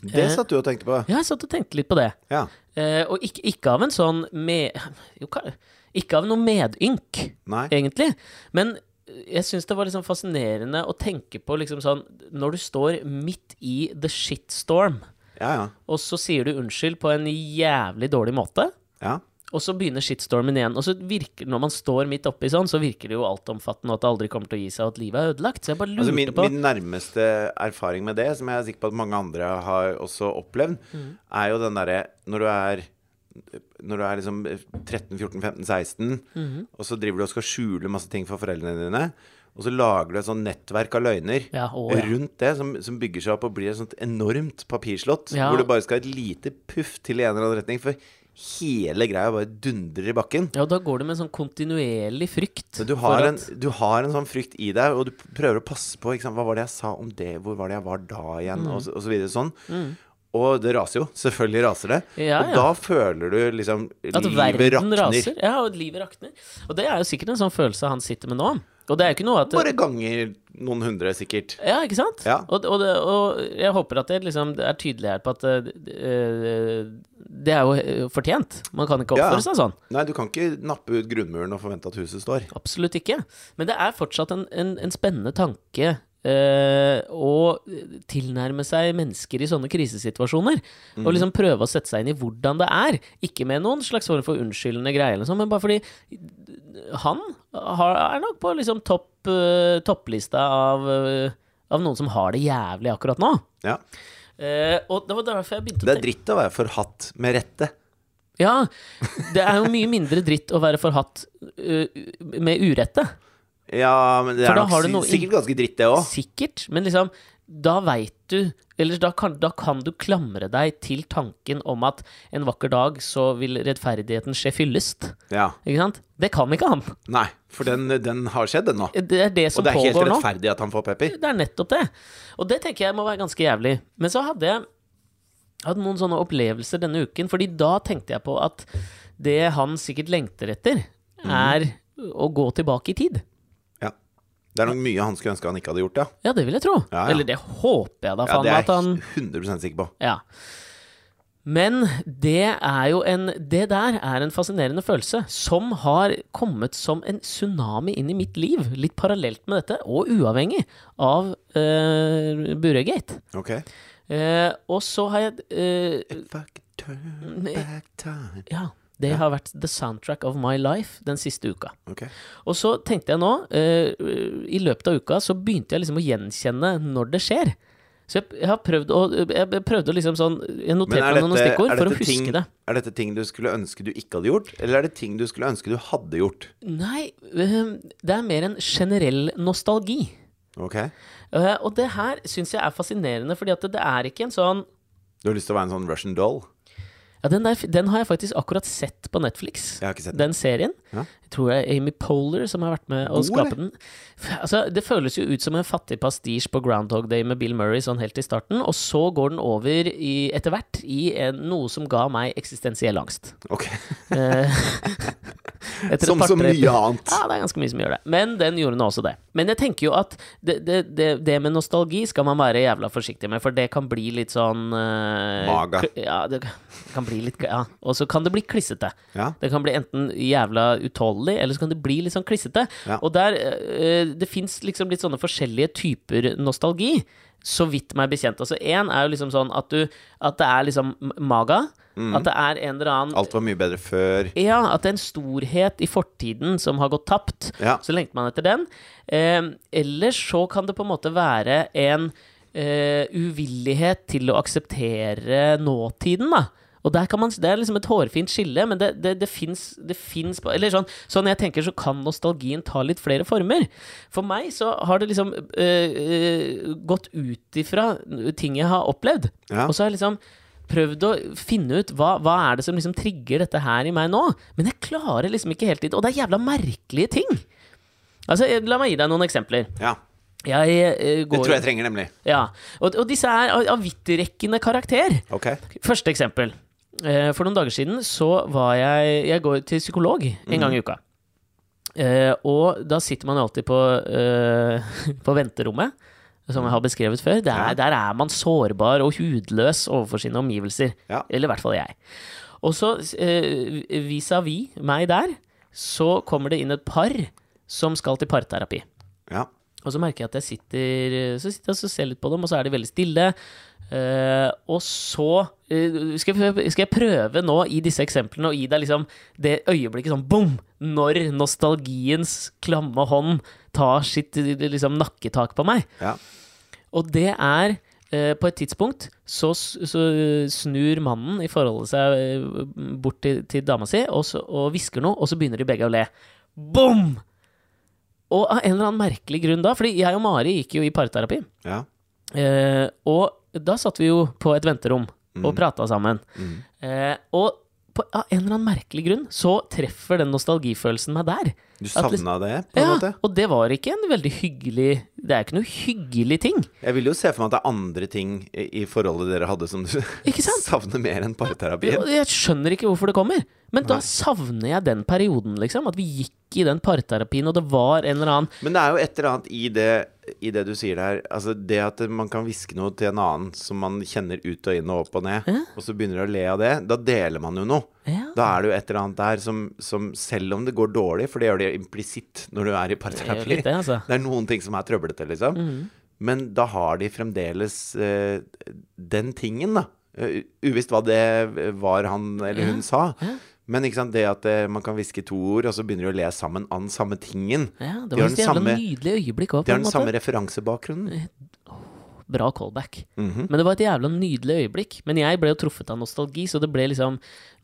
Eh.
Det satt du og tenkte på.
Ja, jeg satt og tenkte litt på det.
Ja.
Eh, og ikke, ikke av en sånn med, jo, ka- Ikke av noe medynk,
Nei.
egentlig. Men jeg syns det var liksom fascinerende å tenke på liksom sånn Når du står midt i the shitstorm,
Ja, ja.
og så sier du unnskyld på en jævlig dårlig måte,
Ja.
og så begynner shitstormen igjen. Og så virker når man står midt oppi sånn, så virker det jo altomfattende, og at det aldri kommer til å gi seg, og at livet er ødelagt. Så jeg bare lurte
Altså min,
på
min nærmeste erfaring
Mm.
med det, som jeg er sikker på at mange andre har også opplevd, er jo den derre når du er når du er liksom 13-14-15-16,
Mm-hmm.
og så driver du og skal skjule masse ting for foreldrene dine, og så lager du et sånn nettverk av løgner
Ja, å, ja.
rundt det, som, som bygger seg opp og blir et sånt enormt papirslott,
Ja.
hvor det bare skal et lite puff til i en eller annen retning, for hele greia bare dundrer i bakken.
Ja, og da går det med en sånn kontinuerlig frykt.
Men du
for
har, en,
at-
du har en sånn frykt i deg, og du p- prøver å passe på ikke sant? Hva var det jeg sa om det, hvor var det jeg var da igjen,
Mm.
og, så- og så videre sånn. Og det raser jo. Selvfølgelig raser det.
Ja,
og
ja.
da føler du liksom
At
Livet
verden
rakner.
raser. Ja, og livet rakner. Og det er jo sikkert en sånn følelse han sitter med nå. Og det er jo ikke noe at
Bare ganger noen hundre, sikkert.
Ja, ikke sant?
Ja.
Og, og, det, og jeg håper at det liksom det er tydelig her på at eh, det er jo eh, fortjent. Man kan ikke
Ja.
oppføre seg sånn.
Nei, du kan ikke nappe ut grunnmuren og forvente at huset står.
Absolutt ikke. Men det er fortsatt en, en, en spennende tanke eh, å tilnærme seg mennesker i sånne krisesituasjoner. Og liksom prøve å sette seg inn i hvordan det er. Ikke med noen slags form for unnskyldende greie, eller noe sånt, men bare fordi han har, er nok på liksom topp, eh, topplista av, eh, av noen som har det jævlig akkurat nå.
Ja.
Eh, og det var derfor jeg begynte å
Det er
tenke
dritt å være forhatt med rette.
Ja, det er jo mye mindre dritt å være forhatt eh, med urette.
Ja, men det
For
er
da
nok
har du
si-
noe i-
sikkert ganske dritt, det òg.
Sikkert, men liksom, da veit du Eller da kan, da kan du klamre deg til tanken om at en vakker dag så vil rettferdigheten skje fyllest.
Ja.
Ikke sant? Det kan ikke han.
Nei, for den, den har skjedd, den nå.
Det er det
Og
som
det er helt
pågår nå.
rettferdig at han får pepper.
Det er nettopp det. Og det tenker jeg må være ganske jævlig. Men så hadde jeg hadde noen sånne opplevelser denne uken, fordi da tenkte jeg på at det han sikkert lengter etter,
Mhm.
er å gå tilbake i tid.
Ja. Det er nok mye han skulle ønske han ikke hadde gjort, ja.
Ja, det vil jeg tro.
Ja, ja.
Eller det håper jeg da,
Ja,
faen
det
meg
er
at han
jeg 100 sikker på.
Ja. Men det er jo en Det der er en fascinerende følelse som har kommet som en tsunami inn i mitt liv. Litt parallelt med dette, og uavhengig av uh, Buregate.
Ok.
Eh, og så har jeg eh,
If I could turn
Nei.
back time
Ja. Det har vært the soundtrack of my life den siste uka.
Ok.
Og så tenkte jeg nå, eh, i løpet av uka, så begynte jeg liksom å gjenkjenne når det skjer. Så jeg, jeg har prøvd å Jeg prøvde å liksom sånn Jeg
Men
noterte
er
meg noen
dette,
stikkord
er,
for å
dette
huske
ting,
det.
er dette ting du skulle ønske du ikke hadde gjort, eller er det ting du skulle ønske du hadde gjort?
Nei, øhm, det er mer en generell nostalgi.
Ok?
Øh, Og det her syns jeg er fascinerende, fordi at det- det er ikke en sånn
Du har lyst til å være en sånn Russian doll?
ja, den, der, den har jeg faktisk akkurat sett på Netflix.
Jeg har ikke sett den.
Den serien.
Ja.
Jeg tror det er Amy Polar som har vært med å
God,
skape den. F- Altså, det føles jo ut som en fattig pastisj på Groundhog Day med Bill Murray sånn helt i starten, og så går den over i, etter hvert i en, noe som ga meg eksistensiell angst.
Ok.
Eh, etter et
Som
par-
så
tre-
mye annet.
Ja, det er ganske mye som gjør det. Men den gjorde nå også det. Men jeg tenker jo at det, det, det, det med nostalgi skal man være jævla forsiktig med, for det kan bli litt sånn eh,
Maga.
kl- Ja, det kan bli litt Ja. Og så kan det bli klissete.
Ja.
Det kan bli enten jævla utålelig, eller så kan det bli litt sånn klissete.
Ja.
Og der eh, Det fins liksom litt sånne forskjellige typer nostalgi, så vidt meg bekjent. Altså én er jo liksom sånn at du At det er liksom maga.
Mm.
At det er en eller annen
Alt var mye bedre før.
ja, at det er en storhet i fortiden som har gått tapt.
Ja.
Så lengter man etter den. Eh, ellers så kan det på en måte være en eh, uvillighet til å akseptere nåtiden, da. Og der kan man, Det er liksom et hårfint skille, men det, det, det fins det finnes på- Eller sånn, sånn jeg tenker, så kan nostalgien ta litt flere former. For meg så har det liksom eh, eh, gått ut ifra ting jeg har opplevd.
Ja.
Og så har jeg liksom prøvd å finne ut hva, hva er det som liksom trigger dette her i meg nå. Men jeg klarer liksom ikke helt dit. Og det er jævla merkelige ting! Altså, jeg- La meg gi deg noen eksempler.
Ja.
Jeg eh,
Det
går
tror jeg trenger, nemlig.
Ja. Og, og disse er av, av vidtrekkende karakter.
Ok.
Første eksempel. Eh, For noen dager siden så var jeg Jeg går til psykolog
Mhm.
en gang i uka. Eh, og da sitter man jo alltid på, eh, på venterommet, som jeg har beskrevet før. Der,
Ja.
der er man sårbar og hudløs overfor sine omgivelser.
Ja.
Eller i hvert fall jeg. Og så eh, vis-à-vis meg der, så kommer det inn et par som skal til parterapi.
Ja.
Og så merker jeg at jeg sitter Så sitter jeg og så ser jeg litt på dem, og så er de veldig stille. Eh, og så eh, skal, jeg, skal jeg prøve nå i disse eksemplene å gi deg liksom det øyeblikket sånn bom! Når nostalgiens klamme hånd tar sitt eh, liksom, nakketak på meg.
Ja.
Og det er eh, eh, på et tidspunkt så, s- så eh, snur mannen i forholdet seg eh, bort til, til dama si og, så, og hvisker noe, og så begynner de begge å le. Bom! Og av en eller annen merkelig grunn da, fordi jeg og Mari gikk jo i parterapi.
Ja.
Eh, og da satt vi jo på et venterom
Mm.
og prata sammen. Eh, og på, av en eller annen merkelig grunn så treffer den nostalgifølelsen meg der.
Du
At liksom-
savna det, på en
ja,
måte?
Og det var ikke en veldig hyggelig Det er ikke noe hyggelig ting.
Jeg vil jo se for meg at det er andre ting i i forholdet dere hadde som du
Ikke sant?
savner mer enn parterapi.
Og Jeg skjønner ikke hvorfor det kommer. Men da savner jeg den perioden, liksom. At vi gikk i den parterapien, og det var en eller annen
Men det er jo et eller annet i det, i det du sier der. Altså det at man kan hviske noe til en annen som man kjenner ut og inn og opp og ned, og så begynner du å le av det. Da deler man jo noe.
Ja.
Da er det jo et eller annet der som, som selv om det går dårlig, for det gjør det implisitt når du er i
gjør
parterapi
litt det, Mhm. altså.
er noen ting som er trøblete, liksom. Men da har de fremdeles eh, den tingen, da. Eh, Uvisst hva det var han eller hun sa. Men ikke sant, det at eh, man kan hviske to ord, og så begynner de å le sammen an samme tingen.
ja, Det
de
var
har
et
den
jævla
samme,
nydelig øyeblikk òg,
de
på
har
en
den
måte.
samme referansebakgrunnen. Mhm.
Bra callback. Men det var et jævla nydelig øyeblikk. Men jeg ble jo truffet av nostalgi, så det ble liksom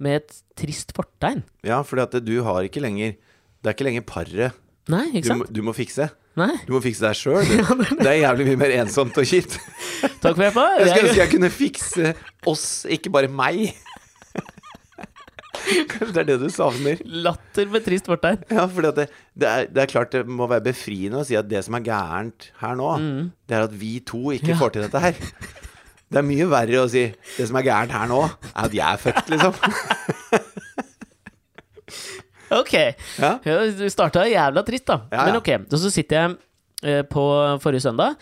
med et trist fortegn.
Ja, for du har ikke lenger Det er ikke lenger paret
Nei, ikke
du,
sant?
må- du må fikse.
Nei.
Du må fikse deg sjøl. Det er jævlig mye mer ensomt og kjipt.
Takk for hjelpa.
Jeg skulle
Jeg-
ønske jeg kunne fikse oss, ikke bare meg. Kanskje det er det du savner?
Latter med trist fortegn.
Ja, for det, det, er, det er klart det må være befriende å si at det som er gærent her nå, det er at vi to ikke får til dette her. Det er mye verre å si det som er gærent her nå, er at jeg er født, liksom.
Ok.
Ja.
Ja, Du starta jævla trist, da.
Ja, ja.
Men ok. Og så sitter jeg eh, på forrige søndag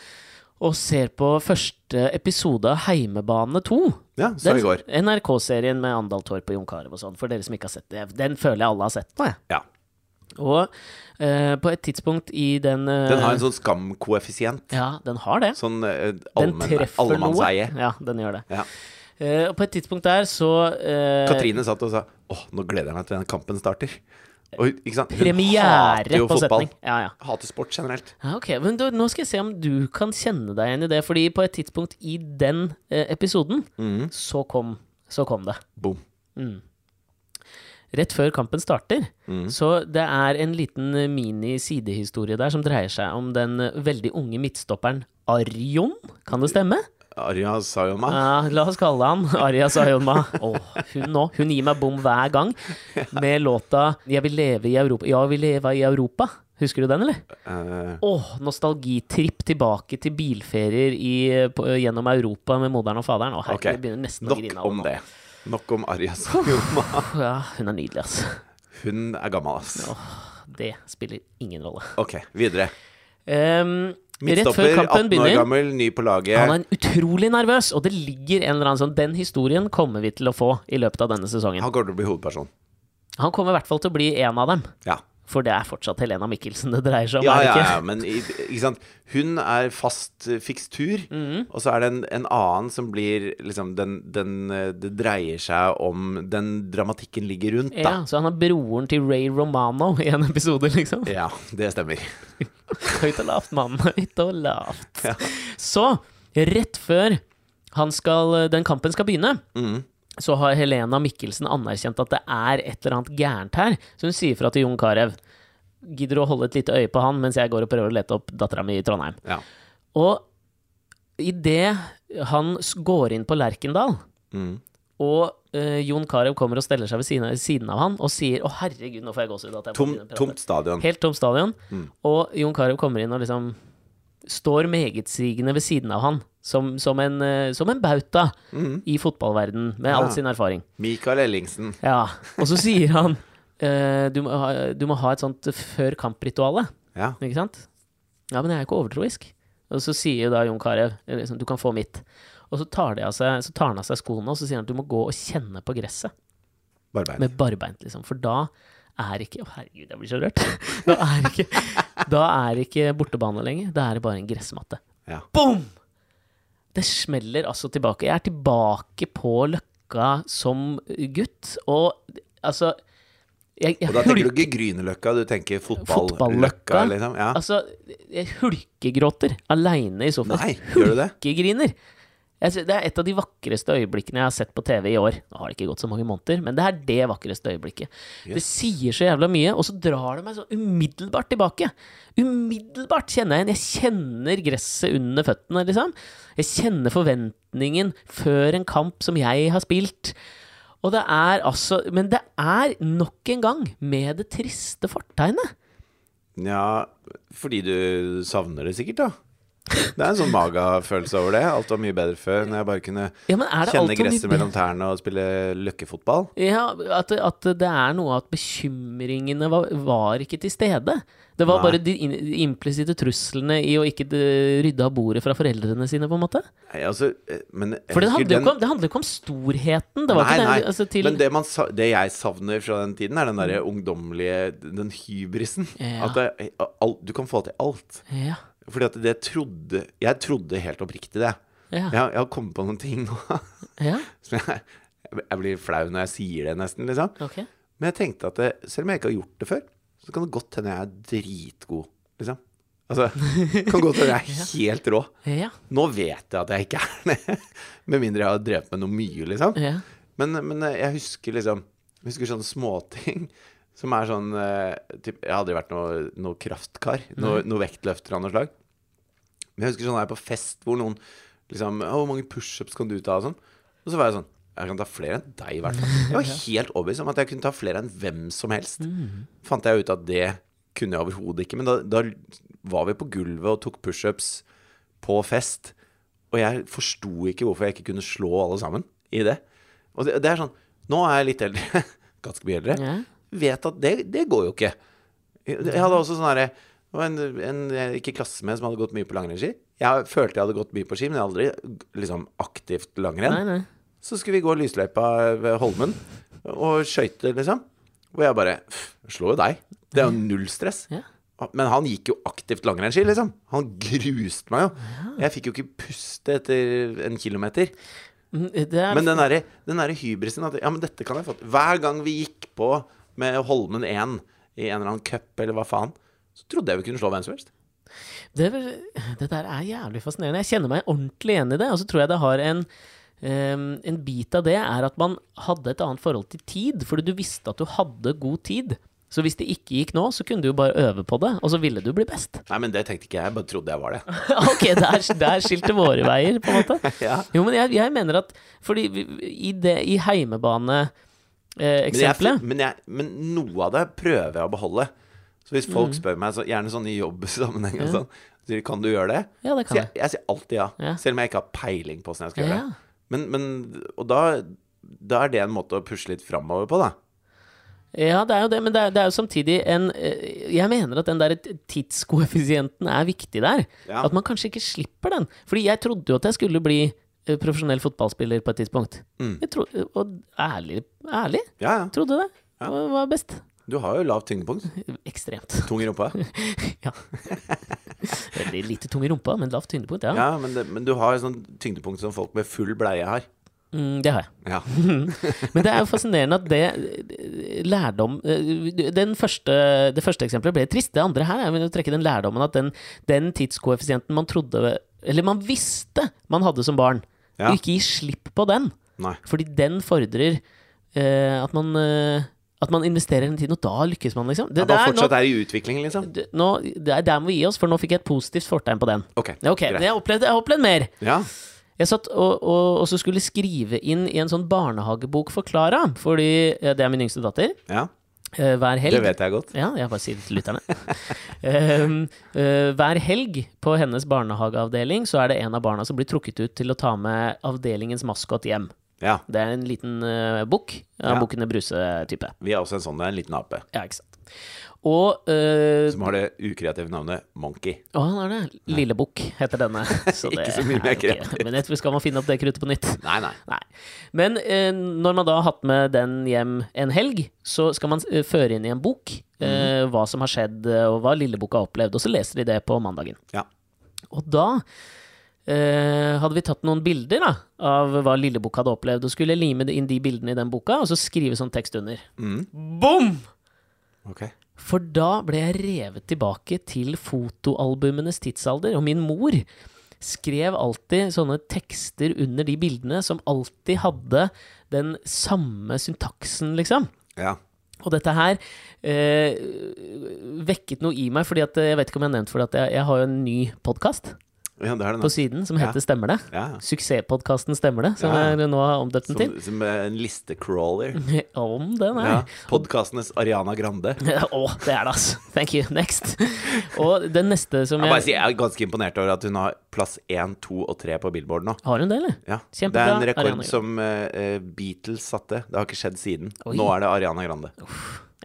og ser på første episode av Heimebane 2.
Ja, så i går.
NRK-serien med Andal Torp og Jon Carew og sånn, for dere som ikke har sett det. Den føler jeg alle har sett nå, jeg.
Ja.
Og eh, på et tidspunkt i den eh,
Den har en sånn skamkoeffisient.
Ja, den har det.
Sånn eh,
Den
allmenn-
treffer noe.
allemannseie.
Ja, den gjør det.
Ja.
Eh, og på et tidspunkt der så eh,
Katrine satt og sa åh, nå gleder jeg meg til den kampen starter. Og, ikke sant? Hun hater
Premiere
jo
på
fotball.
setning. Ja, ja.
Hater sport generelt.
Ja, ok, men du, Nå skal jeg se om du kan kjenne deg igjen i det. Fordi på et tidspunkt i den eh, episoden, så, kom, så kom det.
Boom.
Rett før kampen starter. Så det er en liten eh, mini-sidehistorie der som dreier seg om den eh, veldig unge midtstopperen Arjon. Kan det stemme?
Arja Sayoma.
Ja, la oss kalle han Arja Sayonma. Åh, hun nå. Hun gir meg bom hver gang med låta 'Jeg vil leve i Europa'. Ja, vi leva i Europa. Husker du den, eller?
Eh,
Åh, nostalgitripp tilbake til bilferier i, på, gjennom Europa med moderen og faderen. Åh, herregud,
Ok.
jeg begynner nesten å
nok
grine. av
om
nå.
det. Nok om Arja Sayoma.
Åh, Ja, hun er nydelig, altså.
Hun er gammel, ass.
Det spiller ingen rolle.
Ok, videre.
Ehm, rett før
Midtstopper,
kampen
18 år
begynner
gammel, ny på
han
laget.
er utrolig nervøs, og det ligger en eller annen sånn Den historien kommer vi til å få i løpet av denne sesongen.
Han kommer til å bli hovedperson.
Han kommer i hvert fall til å bli en av dem,
Ja.
for det er fortsatt Helena Mikkelsen det dreier seg om.
Ja,
er det
ja,
ikke?
ja, men i- ikke sant? hun er fast eh, fikstur,
Mhm.
og så er det en, en annen som blir liksom den, den eh, Det dreier seg om den dramatikken ligger rundt, da.
Ja, så han er broren til Ray Romano i en episode, liksom.
Ja, det stemmer.
Høyt og lavt, mann. Høyt og lavt. Så, rett før han skal, den kampen skal begynne,
Mhm.
så har Helena Mikkelsen anerkjent at det er et eller annet gærent her. Så hun sier fra til Jon Carew. Gidder du å holde et lite øye på han mens jeg går og prøver å lete opp dattera mi i Trondheim?
Ja.
Og idet han s- går inn på Lerkendal,
Mhm.
og eh, Jon Carew kommer og steller seg ved siden av, siden av han og sier 'Å, herregud, nå får jeg gåsehud'. at jeg må
Tom,
begynne å prate».
tomt stadion.
Helt tom stadion. Og Jon Carew kommer inn og liksom står megetsigende ved siden av han, som, som, en, eh, som en bauta i fotballverden med all sin erfaring.
Mikael Ellingsen.
Ja. Og så sier han eh, du, må ha, du må ha et sånt før kamp-rituale,
Ja.
ikke sant? Ja, men jeg er jo ikke overtroisk. Og så sier jo da Jon Carew eh, liksom, du kan få mitt. Og så tar, de av seg, så tar han av seg skoene og så sier han at du må gå og kjenne på gresset.
Barbein.
Med barbeint, liksom. For da er ikke Å, herregud, jeg blir så rørt. Da er ikke, da er ikke bortebane lenger. Da er det bare en gressmatte.
Ja.
Boom! Det smeller altså tilbake. Jeg er tilbake på Løkka som gutt, og altså jeg, jeg
Og da tenker du
hulk-
ikke Grünerløkka, du tenker
Fotballøkka.
fotballøkka, liksom. Ja.
Altså, jeg altså, hulkegråter aleine i sofaen.
Nei, gjør du det?
Hulkegriner. Jeg sy- det er et av de vakreste øyeblikkene jeg har sett på TV i år. Nå har det ikke gått så mange måneder, men det er det vakreste øyeblikket. Det sier så jævla mye, og så drar det meg så umiddelbart tilbake. Umiddelbart kjenner jeg igjen. Jeg kjenner gresset under føttene, liksom. Jeg kjenner forventningen før en kamp som jeg har spilt. Og det er altså Men det er nok en gang med det triste fortegnet.
Ja, fordi du savner det sikkert, da. Det er en sånn maga-følelse over det. Alt var mye bedre før, når jeg bare kunne
Ja, men er det alt
kjenne
for mye
gresset
bedre?
mellom tærne og spille løkkefotball.
Ja, at, at det er noe at bekymringene var, var ikke til stede. Det var
Nei.
bare de in- de implisitte truslene i å ikke eh, rydde av bordet fra foreldrene sine, på en måte.
Nei, altså, eh, men jeg
For det
husker
handler jo
den-
ikke om, det handler jo ikke om storheten. Det var
nei,
ikke
nei.
det, altså, til,
Men det, man, sa- det jeg savner fra den tiden, er den derre ungdommelige Den hybrisen.
Ja.
At det, alt, du kan få til alt.
ja,
Fordi at det trodde Jeg trodde helt oppriktig det.
ja,
Jeg,
ja.
har- jeg har kommet på noen ting nå som jeg, jeg blir flau når jeg sier det, nesten. liksom
ok.
Men jeg tenkte at det, selv om jeg ikke har gjort det før, så kan det godt hende jeg er dritgod, liksom. Altså, kan godt hende jeg er helt rå.
Ja,
Nå vet jeg at jeg ikke er det, med mindre jeg har drevet med noe mye, liksom.
ja.
Men, men jeg husker liksom Jeg husker sånne småting som er sånn eh, typ, Jeg har aldri vært noe, noe kraftkar, noe, noe vektløfter av noe slag. Men jeg husker sånn her på fest hvor noen liksom «Å, 'Hvor mange pushups kan du ta?' og sånn. Og så var jeg sånn Jeg kan ta flere enn deg, i hvert fall. Jeg var helt overbevist om at jeg kunne ta flere enn hvem som helst. Fant jeg ut at det kunne jeg overhodet ikke. Men da, da var vi på gulvet og tok pushups på fest. Og jeg forsto ikke hvorfor jeg ikke kunne slå alle sammen i det. Og det, det er sånn Nå er jeg litt eldre, ganske mye eldre,
Ja.
vet at det, det går jo ikke. Jeg jeg hadde også sånn herre det var en, en jeg gikk i klasse med som hadde gått mye på langrennsski. Jeg følte jeg hadde gått mye på ski, men jeg hadde aldri liksom, aktivt langrenn.
Nei, nei.
Så skulle vi gå lysløypa ved Holmen og skøyte, liksom. Og jeg bare «Pff, jeg Slår jo deg. Det er jo null stress.
Ja.
Men han gikk jo aktivt langrennsski, liksom. Han gruste meg jo. Jeg fikk jo ikke puste etter en kilometer.
Mm, Det er,
Men den derre den derre hybrisen at Ja, men dette kan jeg få til. Hver gang vi gikk på med Holmen 1 i en eller annen cup eller hva faen, så trodde jeg vi kunne slå hvem som helst.
det, det der er jævlig fascinerende. Jeg kjenner meg ordentlig igjen i det, og så tror jeg det har en ehm, en bit av det er at man hadde et annet forhold til tid, fordi du visste at du hadde god tid. Så hvis det ikke gikk nå, så kunne du jo bare øve på det, og så ville du bli best.
Nei, men det tenkte ikke jeg. Jeg bare trodde jeg var det.
ok, der, der skilte våre veier, på en måte.
Ja.
Jo, men jeg, jeg mener at Fordi vi, i, det, i heimebane eh,
Men, jeg,
eksempelet
men, jeg, men noe av det prøver jeg å beholde. Så hvis folk spør meg, så, gjerne sånn i jobbsammenheng og
Mm. Ja.
sånn, så sier de kan du gjøre det?
Ja, det
Så
kan
jeg,
jeg.
jeg sier alltid ja,
Ja.
selv om jeg ikke har peiling på hvordan jeg skal gjøre
Ja.
det. Men, men, og da, da er det en måte å pushe litt framover på, da.
Ja, det er jo det, men det er, det er jo samtidig en eh, Jeg mener at den der tidskoeffisienten er viktig der.
Ja.
At man kanskje ikke slipper den. Fordi jeg trodde jo at jeg skulle bli eh, profesjonell fotballspiller på et tidspunkt.
Mm.
Jeg tro, eh, og ærlig, ærlig,
Ja, ja.
trodde det. Og var best.
Du har jo lavt tyngdepunkt.
Ekstremt.
Tung i rumpa.
ja. Veldig lite tung i rumpa, men lavt tyngdepunkt. Ja.
Ja, men, det, men du har jo sånn tyngdepunkt som folk med full bleie har.
Mm, det har jeg.
Ja.
Men det er jo fascinerende at det lærdom eh, den første, Det første eksempelet ble trist. Det andre her er jo å trekke den lærdommen at den, den tidskoeffisienten man trodde Eller man visste man hadde som barn,
Ja.
ikke gi slipp på den.
Nei.
Fordi den fordrer eh, at man eh, at man investerer hele tiden, og da lykkes man, liksom. Det,
Det bare
der, nå,
fortsatt er i utvikling, liksom.
det- nå, det er der må vi gi oss, for nå fikk jeg et positivt fortegn på den.
Ok.
Ok,
greit.
men jeg har opplevd- jeg har opplevd mer.
Ja.
Jeg satt og, og, og så skulle skrive inn i en sånn barnehagebok for Klara, fordi eh, det er min yngste datter.
ja.
eh, Hver helg
Det vet jeg godt.
Ja, jeg bare sier det til lytterne. Ehm, eh, hver helg på hennes barnehageavdeling så er det en av barna som blir trukket ut til å ta med avdelingens maskot hjem.
Ja.
Det er en liten eh, bukk. Ja.
Ja.
Bukkene Bruse-type.
Vi har også en sånn, det er en liten ape,
Ja, ikke sant. Og eh,
som har det ukreative navnet Monkey.
Å, han er det. Lillebukk heter denne. Så
Ikke så mye
er
mer
jo ikke- Men jeg tror skal man finne opp det kruttet på nytt.
Nei, nei.
Nei. Men eh, når man da har hatt med den hjem en helg, så skal man eh, føre inn i en bok eh, hva som har skjedd, eh, og hva lilleboka har opplevd, og så leser de det på mandagen.
Ja.
Og da eh, hadde vi tatt noen bilder da, av hva lilleboka hadde opplevd, og skulle lime det inn de bildene i den boka, og så skrive sånn tekst under.
Mm.
Bom!
Ok.
For da ble jeg revet tilbake til fotoalbumenes tidsalder, og min mor skrev alltid sånne tekster under de bildene som alltid hadde den samme syntaksen, liksom.
Ja.
Og dette her eh, vekket noe i meg, fordi at eh, jeg vet ikke om jeg har nevnt for det, at jeg, jeg har jo en ny podkast
ja, det er det
på
nå.
siden som
Ja.
heter Stemmer det?
Ja, ja.
Suksesspodkasten Stemmer det, som
Ja, ja.
jeg nå har omdøpt den til. Mm.
Som, som en listecrawler.
Om den er.
Ja. Podkastenes Ariana Grande.
Å, det er det, altså. Thank you. Next. Og den neste som
Jeg, bare
jeg
sier, jeg er ganske imponert over at hun har plass én, to og tre på Billboard nå.
Har hun det, eller?
Ja. Det
Kjempebra,
er en rekord
Ariana Grande.
som eh, eh, Beatles satte. Det har ikke skjedd siden.
Oi.
Nå er det Ariana Grande.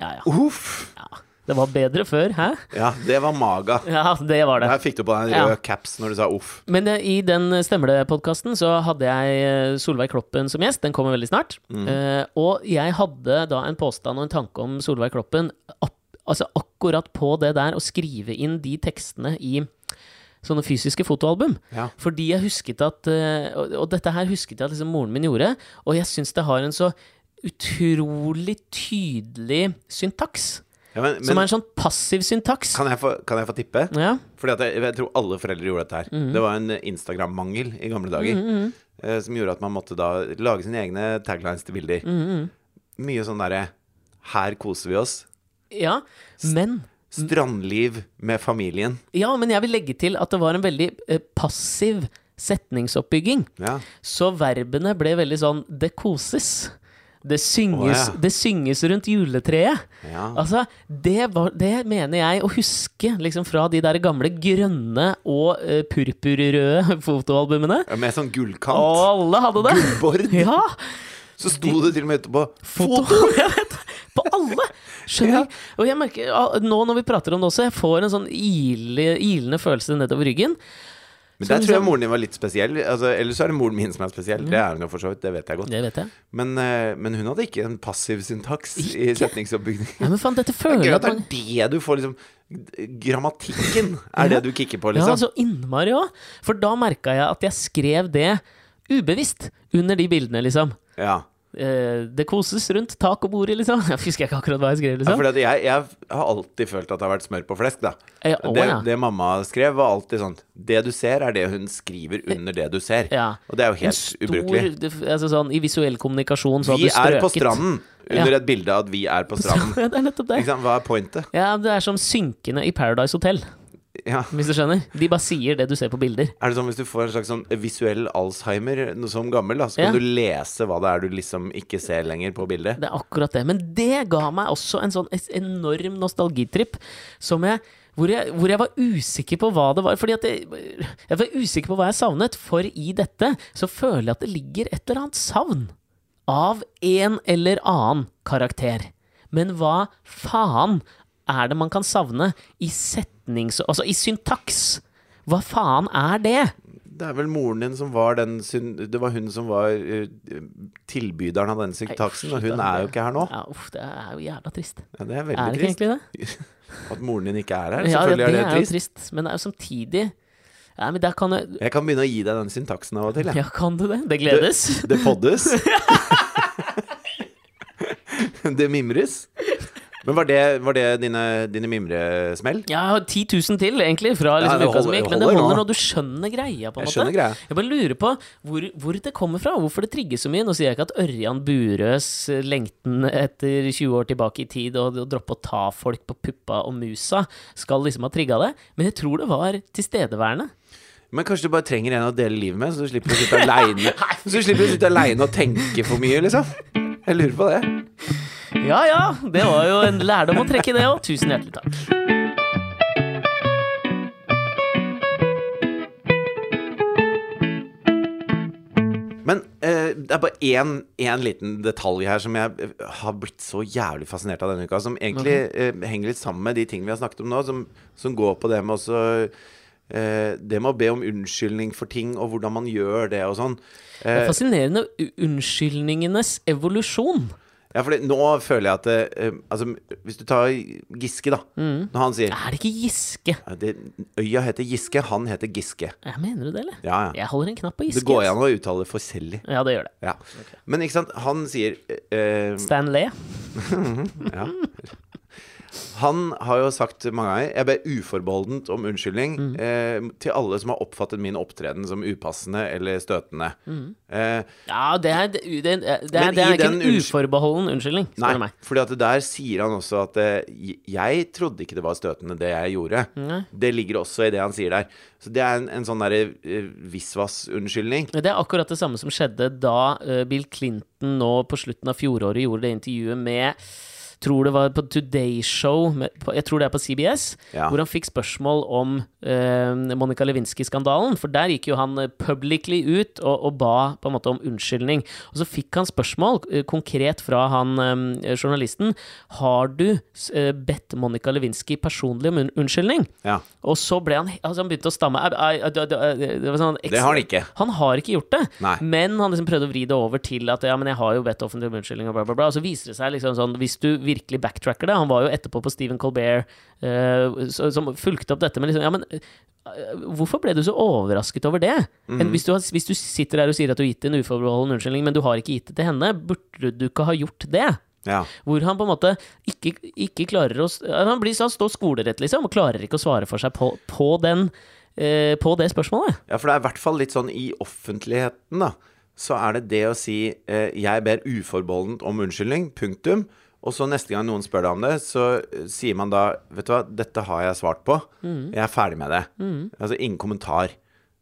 Ja, ja.
Uff!
ja. Det var bedre før, hæ?
Ja, det var maga.
Ja, det var det.
Der fikk du på deg en
Ja.
rød caps når du sa uff.
Men eh, i den Stemmer det-podkasten så hadde jeg eh, Solveig Kloppen som gjest. Den kommer veldig snart.
Mm.
Eh, og jeg hadde da en påstand og en tanke om Solveig Kloppen ap altså akkurat på det der å skrive inn de tekstene i sånne fysiske fotoalbum.
Ja.
Fordi jeg husket at eh, Og og dette her husket jeg at liksom moren min gjorde, og jeg syns det har en så utrolig tydelig syntaks.
Ja, men,
som er
men
en sånn passiv syntaks.
kan jeg få, kan jeg få tippe?
Ja.
Fordi at jeg, jeg tror alle foreldre gjorde dette her.
Mhm.
Det var en Instagram-mangel i gamle dager. eh, som gjorde at man måtte da lage sine egne taglines til bilder.
Mhm,
Mye sånn derre Her koser vi oss.
ja. Men
Strandliv med familien.
Ja, men jeg vil legge til at det var en veldig eh, passiv setningsoppbygging.
Ja.
Så verbene ble veldig sånn Det koses. Det synges,
Å, ja.
det synges rundt juletreet.
ja.
Altså, det, var, det mener jeg å huske liksom, fra de der gamle grønne og eh, purpurrøde fotoalbumene.
Med sånn gullkant.
Og alle hadde det!
Gullbord.
Ja!
Så sto det til og med etterpå
Foto! Jeg vet, på alle! Skjønner du? Og jeg merker, ah, nå når vi prater om det også, jeg får en sånn ile, ilende følelse nedover ryggen. Som-
Men
sånn-
der tror jeg
som-
moren din var litt spesiell. Altså, ellers så er det moren min som er spesiell. Det er hun jo for så vidt, det vet jeg godt.
Det vet jeg.
Men, eh, men hun hadde ikke en passiv syntaks i setningsoppbygning.
Ja, men faen, dette
Det er
føler
gøy
jeg
at
at man
det er det du får, liksom. Grammatikken er det du kicker på,
Ja,
liksom.
så innmari òg. For da merka jeg at jeg skrev det ubevisst under de bildene, liksom.
Ja.
Eh, det koses rundt tak og bordet, liksom. Jeg husker ikke akkurat hva jeg skrev,
Ja,
liksom.
fordi at jeg, jeg har alltid følt at det har vært smør på flesk, da.
Ja, Eh, å,
det,
ja.
det mamma skrev, var alltid sånn Det du ser, er det hun skriver under det du ser.
Ja.
Og det er jo
En
helt ubrukelig.
det- altså sånn, I visuell kommunikasjon så
Vi
hadde du
er
strøket.
på stranden under
Ja.
et bilde av at vi er på stranden.
Ja, det er nettopp
Ikke
det.
sant? Hva er pointet?
Ja, Det er som synkene i Paradise Hotel,
Ja.
hvis du skjønner. De bare sier det du ser på bilder.
Er det sånn hvis du får en slags sånn visuell Alzheimer noe som gammel, da, så
Ja.
kan du lese hva det er du liksom ikke ser lenger på bildet?
Det er akkurat det. Men det ga meg også en sånn es- enorm nostalgitripp som jeg hvor jeg, hvor jeg var usikker på hva det var. Fordi at jeg, jeg var usikker på hva jeg savnet, for i dette så føler jeg at det ligger et eller annet savn av en eller annen karakter. Men hva faen er det man kan savne i setnings... Altså i syntaks? Hva faen er det?
Det er vel moren din som var den syn... Det var hun som var eh, tilbyderen av den syntaksen, og hun er jo ikke her nå.
Ja, uff, det er jo jævla trist.
Ja, det er
Er det
veldig
ikke
trist.
egentlig det?
At moren din ikke er her,
Ja,
selvfølgelig
det
er det
jo
trist.
trist. Men det er jo samtidig Nei, men der kan jeg
Jeg kan begynne å gi deg den syntaksen av og til, jeg.
Ja, kan du det? Det gledes.
Det poddes. det mimres. Men var det, var det dine, dine mimresmell?
Jeg har 10 000 til, egentlig, fra liksom,
det
uka som
holder-
gikk. Men det
holder nå.
holder nå. Du skjønner greia, på en
Jeg
måte.
skjønner greia.
Jeg bare lurer på hvor, hvor det kommer fra, hvorfor det trigger så mye. Nå sier jeg ikke at Ørjan Burøes eh, lengten etter 20 år tilbake i tid og det å droppe å ta folk på puppa og musa skal liksom ha trigga det, men jeg tror det var tilstedeværende.
Men kanskje du bare trenger en å dele livet med, så du slipper å sitte aleine Så du slipper å sitte alene og tenke for mye, liksom. Jeg lurer på det.
Ja ja, det var jo en lærdom å trekke, det òg. Tusen hjertelig takk.
Men eh, det er bare én, én liten detalj her som jeg eh, har blitt så jævlig fascinert av denne uka, som egentlig eh, henger litt sammen med de tingene vi har snakket om nå, som, som går på det med også eh, Det med å be om unnskyldning for ting, og hvordan man gjør det og sånn.
Det er fascinerende u- unnskyldningenes evolusjon.
Ja, for nå føler jeg at det, eh, Altså, hvis du tar Giske, da. Når han sier
Er det ikke Giske?
"Ja, det, Øya heter Giske, han heter Giske.
Jeg mener du det, eller?
Ja, ja.
Jeg holder en knapp på Giske.
Det går
altså.
an å uttale forskjellig.
Ja, det gjør det.
Ja. Men ikke sant, han sier eh,
Stan Lee.
Ja. Han har jo sagt mange ganger Jeg ber uforbeholdent om unnskyldning
Mm.
eh, til alle som har oppfattet min opptreden som upassende eller støtende.
Mm.
Eh,
Ja, det er, det er, det er,
Men
det er
i
ikke
den
en
unnskyld-
uforbeholden unnskyldning, spør
nei,
du meg.
fordi at det der sier han også at eh, j- jeg trodde ikke det var støtende, det jeg gjorde. Det ligger også i det han sier der. Så det er en, en sånn derre eh, visvas-unnskyldning.
Det er akkurat det samme som skjedde da eh, Bill Clinton nå på slutten av fjoråret gjorde det intervjuet med Tror det var på Today Show, med, på, jeg tror det er på CBS,
Ja.
hvor han fikk spørsmål om eh, Monica Lewinsky-skandalen. For der gikk jo han eh, publicly ut og, og ba på en måte om unnskyldning. Og så fikk han spørsmål eh, konkret fra han eh, journalisten. Har du eh, bedt Monica Lewinsky personlig om un unnskyldning?
Ja,
Og så ble han altså Han begynte å stamme. Ai, ai, ai, ai, ai, ai. Det var sånn
det har han ikke.
han har ikke gjort det,
Nei.
men han liksom prøvde å vri det over til at ja, men jeg har jo bedt offentlig om unnskyldning, og bla, bla, bla. Og så viser det seg liksom sånn, hvis du virkelig backtracker det Han var jo etterpå på Stephen Colbert, eh, så- som fulgte opp dette med liksom Ja, men eh, hvorfor ble du så overrasket over det? En- Hvis, du har, hvis du sitter der og sier at du har gitt en uforbeholden unnskyldning, men du har ikke gitt det til henne, burde du ikke ha gjort det?
Ja.
Hvor han på en måte ikke, ikke klarer å s- Han, blir, han står skolerett, liksom, og klarer ikke å svare for seg på, på, den, eh, på det spørsmålet.
Ja, for det er i hvert fall litt sånn i offentligheten, da. Så er det det å si eh, 'jeg ber uforbeholdent om unnskyldning', punktum. Og så neste gang noen spør deg om det, så eh, sier man da 'vet du hva, dette har jeg svart på', jeg er ferdig med det. Altså ingen kommentar.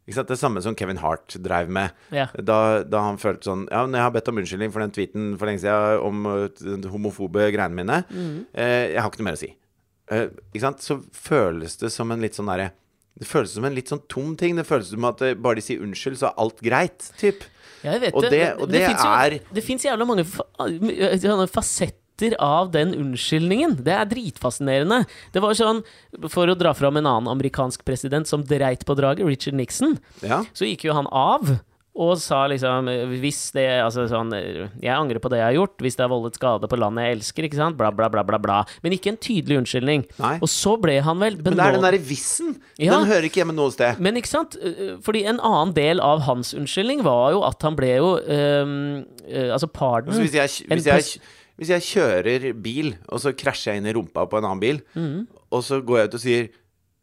Ikke sant? Det samme som Kevin Hart dreiv med.
Ja.
Da, da han følte sånn Ja, men jeg har bedt om unnskyldning for den tweeten for lenge siden om eh, de homofobe greiene mine.
Mm.
Eh, jeg har ikke noe mer å si. Eh, ikke sant? Så føles det som en litt sånn derre Det føles som en litt sånn tom ting. Det føles som at eh, bare de sier unnskyld, så er alt greit. Typ.
Ja, jeg vet
Og det-
men-
og
men
det
finnes jo,
er-
Det fins jævla mange fa øh, sånne fasetter av den unnskyldningen. Det er dritfascinerende. Det var sånn, For å dra fram en annen amerikansk president som dreit på draget, Richard Nixon,
Ja.
så gikk jo han av. Og sa liksom hvis det, altså sånn, Jeg angrer på det jeg har gjort, hvis det har voldet skade på landet jeg elsker. ikke sant? Bla, bla, bla, bla. bla. Men ikke en tydelig unnskyldning.
Nei.
Og så ble han vel
Men det er den
benådet-
derre vissen.
Ja.
Den hører ikke hjemme noe sted.
men ikke sant? Eh, Fordi en annen del av hans unnskyldning var jo at han ble jo ehm, eh, Altså pardon.
Altså, hvis, jeg,
En
hvis, jeg, hvis jeg kjører bil, og så krasjer jeg inn i rumpa på en annen bil,
Mm.
og så går jeg ut og sier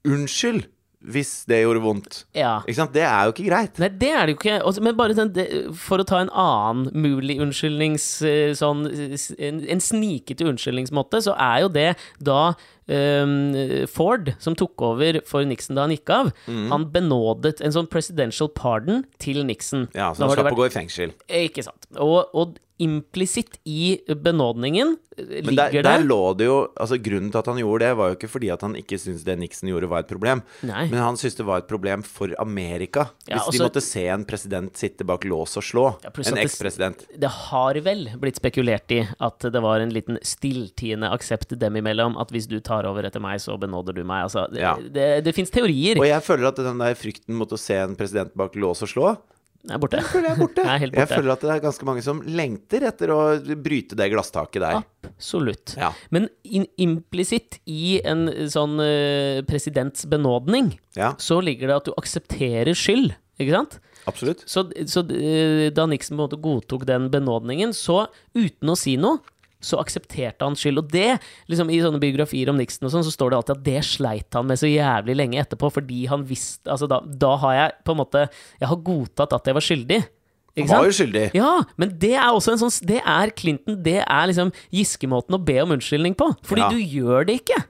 'unnskyld' hvis det gjorde vondt.
Ja.
Ikke sant? Det er jo ikke greit.
Nei, det er det jo ikke. Altså, men bare den, det- for å ta en annen mulig unnskyldnings... eh, Sånn, eh, s- en, en snikete unnskyldningsmåte, så er jo det da ehm, Ford, som tok over for Nixon da han gikk av,
Mhm.
han benådet en sånn presidential pardon til Nixon.
Ja, så
Da
han
har det
slapp
vært-
å gå i fengsel.
Eh, Ikke sant. Og, og implisitt i benådningen eh,
Men der,
ligger det
der lå det jo altså Grunnen til at han gjorde det, var jo ikke fordi at han ikke syntes det Nixon gjorde, var et problem.
Nei.
Men han syntes det var et problem for Amerika.
Ja,
hvis
altså-
de måtte se en president sitte bak lås og slå.
Ja, pluss
en
at det-
ekspresident.
Det har vel blitt spekulert i at det var en liten stilltiende aksept dem imellom, at hvis du tar over etter meg, så benåder du meg. Altså, det,
Ja.
det, det fins teorier
Og jeg føler at den der frykten mot å se en president bak lås og slå,
Nei, borte.
føler jeg er borte.
Nei, helt
Jeg
borte.
føler at det er ganske mange som lengter etter å bryte det glasstaket der.
Absolutt.
Ja.
Men in, implisitt i en sånn eh, presidents benådning,
Ja,
så ligger det at du aksepterer skyld, ikke sant?
absolutt.
Så, så eh, da Nixon på en måte godtok den benådningen, så uten å si noe, så aksepterte han skyld. Og det, liksom i sånne biografier om Nixon og sånn, så står det alltid at det sleit han med så jævlig lenge etterpå, fordi han visste Altså, da, da har jeg på en måte Jeg har godtatt at jeg var skyldig.
Han
Ikke
var
sant?
jo skyldig.
Ja, men det er også en sånn Det er Clinton, det er liksom Giske-måten å be om unnskyldning på. Fordi
Ja.
du gjør det ikke.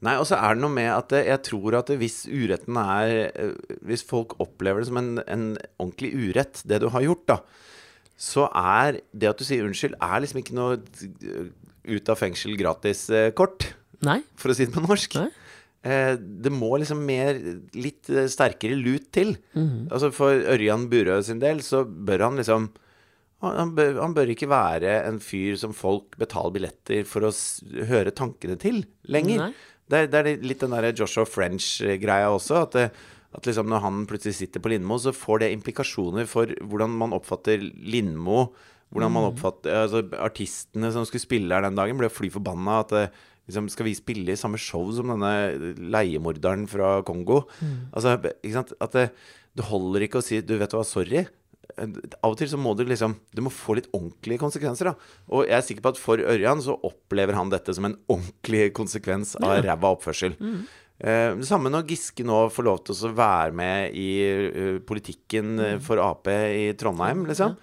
Nei, og så er det noe med at eh, jeg tror at hvis uretten er eh, Hvis folk opplever det som en, en ordentlig urett, det du har gjort, da, så er det at du sier unnskyld, er liksom ikke noe eh, ut av fengsel gratis-kort,
Nei.
for å si det på norsk.
Nei.
Eh, Det må liksom mer, litt eh, sterkere lut til. Altså For Ørjan Burøe sin del så bør han liksom han han bør, han bør ikke være en fyr som folk betaler billetter for å s høre tankene til lenger.
Nei.
Det er, det er litt- litt den der Joshua French-greia også. At, det, at liksom når han plutselig sitter på Lindmo, så får det implikasjoner for hvordan man oppfatter Lindmo. Hvordan man oppfatter altså, Artistene som skulle spille her den dagen, ble fly forbanna. At det, liksom, skal vi spille i samme show som denne leiemorderen eh, fra Kongo? Altså, ikke sant? At det, det holder ikke å si Du vet hva, sorry. Av og til så må du liksom Du må få litt ordentlige konsekvenser, da. Og jeg er sikker på at for Ørjan så opplever han dette som en ordentlig konsekvens av ræva oppførsel. Eh, Det samme når Giske nå får lov til å være med i eh, politikken eh, for Ap i Trondheim, liksom.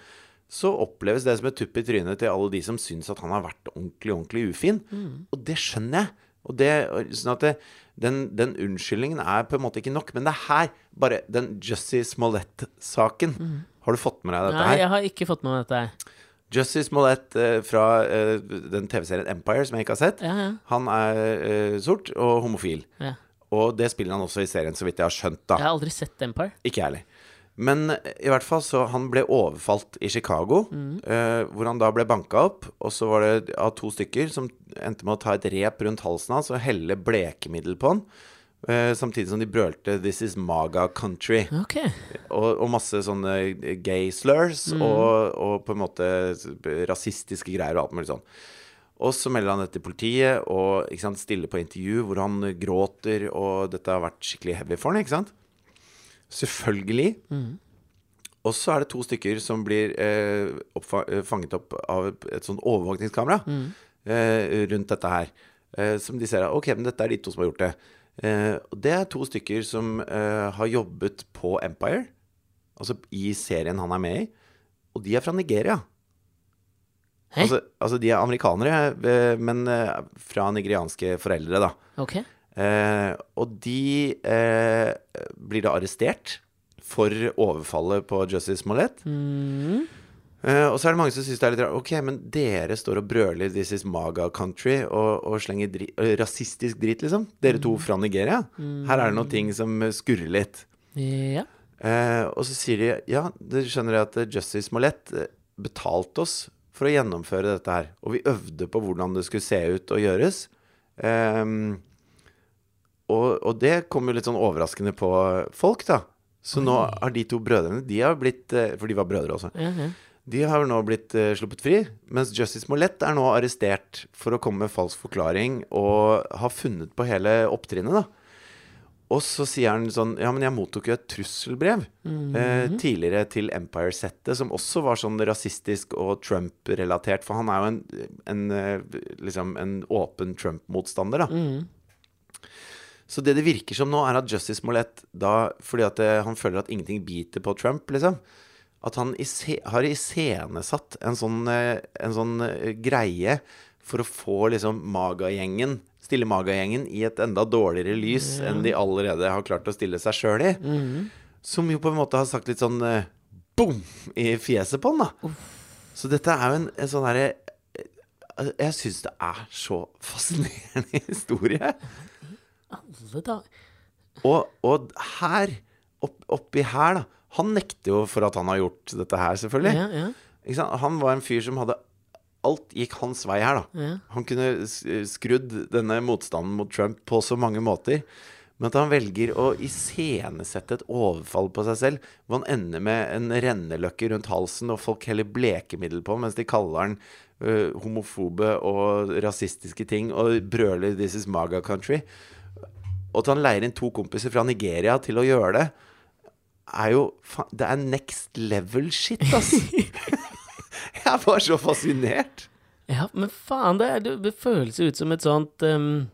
Så oppleves det som et tupp i trynet til alle de som syns at han har vært ordentlig, ordentlig ufin.
Mm.
Og det skjønner jeg. Og det, sånn at det, den, den unnskyldningen er på en måte ikke nok. Men det er her, bare den Jussie Smollett-saken. Har du fått med deg dette
Mm. Nei,
her?
jeg har ikke fått med meg dette her.
Jussie Smollett eh, fra eh, den TV-serien Empire, som jeg ikke har sett.
Ja, ja.
Han er eh, sort og homofil.
Ja.
Og det spiller han også i serien, så vidt jeg har skjønt, da.
Jeg har aldri sett Empire.
Ikke jeg heller. Men eh, i hvert fall så han ble overfalt i Chicago, eh, hvor han da ble banka opp. Og så var det av to stykker som endte med å ta et rep rundt halsen hans og helle blekemiddel på han. eh, samtidig som de brølte 'This is maga country'
Ok.
og, og masse sånne gay slurs og, og på en måte rasistiske greier og alt mulig sånn. Og så melder han dette til politiet og ikke sant, stiller på intervju hvor han gråter, og dette har vært skikkelig heavy for han, ikke sant? Selvfølgelig. Og så er det to stykker som blir eh, oppfa eh, fanget opp av et sånt overvåkningskamera eh, rundt dette her. Eh, som de ser at ok, men dette er de to som har gjort det. Eh, og det er to stykker som eh, har jobbet på Empire, altså i serien han er med i. Og de er fra Nigeria.
Hæ?
Altså, altså de er amerikanere, eh, men eh, fra nigerianske foreldre, da.
Ok.
Eh, og de eh, blir da arrestert for overfallet på Justice Smollett.
Mm.
Eh, og så er det mange som syns det er litt rart. Ok, men dere står og brøler 'This is Maga Country' og, og slenger dri eh, rasistisk drit, liksom. Dere to fra Nigeria. Her er det noen ting som skurrer litt.
Ja.
Eh, og så sier de ja, dere skjønner at eh, Justice Smollett eh, betalte oss for å gjennomføre dette her. Og vi øvde på hvordan det skulle se ut og gjøres. Ehm, og, og det kom jo litt sånn overraskende på folk, da. Så nå har de to brødrene De har blitt eh, For de var brødre også.
ja, ja.
De har jo nå blitt eh, sluppet fri, mens Justice Mollett er nå arrestert for å komme med falsk forklaring og har funnet på hele opptrinnet, da. Og så sier han sånn Ja, men jeg mottok jo et trusselbrev eh, tidligere til Empire-settet, som også var sånn rasistisk og Trump-relatert, for han er jo en, en eh, liksom en åpen Trump-motstander, da. Så det det virker som nå, er at Justice Smollett da Fordi at eh, han føler at ingenting biter på Trump, liksom. At han ise, har iscenesatt en sånn, eh, en sånn eh, greie for å få liksom Maga-gjengen, stille Maga-gjengen i et enda dårligere lys enn de allerede har klart å stille seg sjøl i. Som jo på en måte har sagt litt sånn eh, boom i fjeset på han, da. Så dette er jo en, en sånn herre eh, Jeg syns det er så fascinerende historie.
Alle dager.
Og, og her, opp, oppi her, da Han nekter jo for at han har gjort dette her, selvfølgelig.
Ja, ja.
Ikke sant? Han var en fyr som hadde Alt gikk hans vei her, da.
Ja.
Han kunne s- eh, skrudd denne motstanden mot Trump på så mange måter. Men at han velger å iscenesette et overfall på seg selv, hvor han ender med en renneløkke rundt halsen og folk heller blekemiddel på mens de kaller han ø, homofobe og rasistiske ting og brøler 'This is Maga Country'. Og at han leier inn to kompiser fra Nigeria til å gjøre det, er jo fa- Det er next level shit, ass. Jeg var så fascinert.
Ja, men faen, det, er, det, det føles jo ut som et sånt um,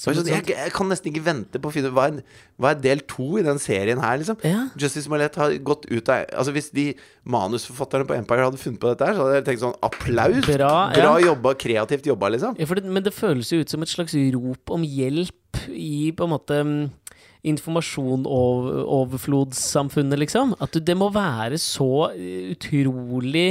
som et
Jeg, sånn, jeg,
sånt
jeg kan nesten ikke vente på å finne ut hva, er- hva er del to i den serien her, liksom.
Ja.
Justice Smollett har gått ut av Altså Hvis de manusforfatterne på Empire hadde funnet på dette her, så hadde jeg tenkt sånn applaus!
Bra,
Bra
ja.
jobba, kreativt jobba, liksom.
ja, for det, Men det føles jo ut som et slags rop om hjelp i på en måte um, informasjonoverflodssamfunnet, liksom. At du, det må være så eh, utrolig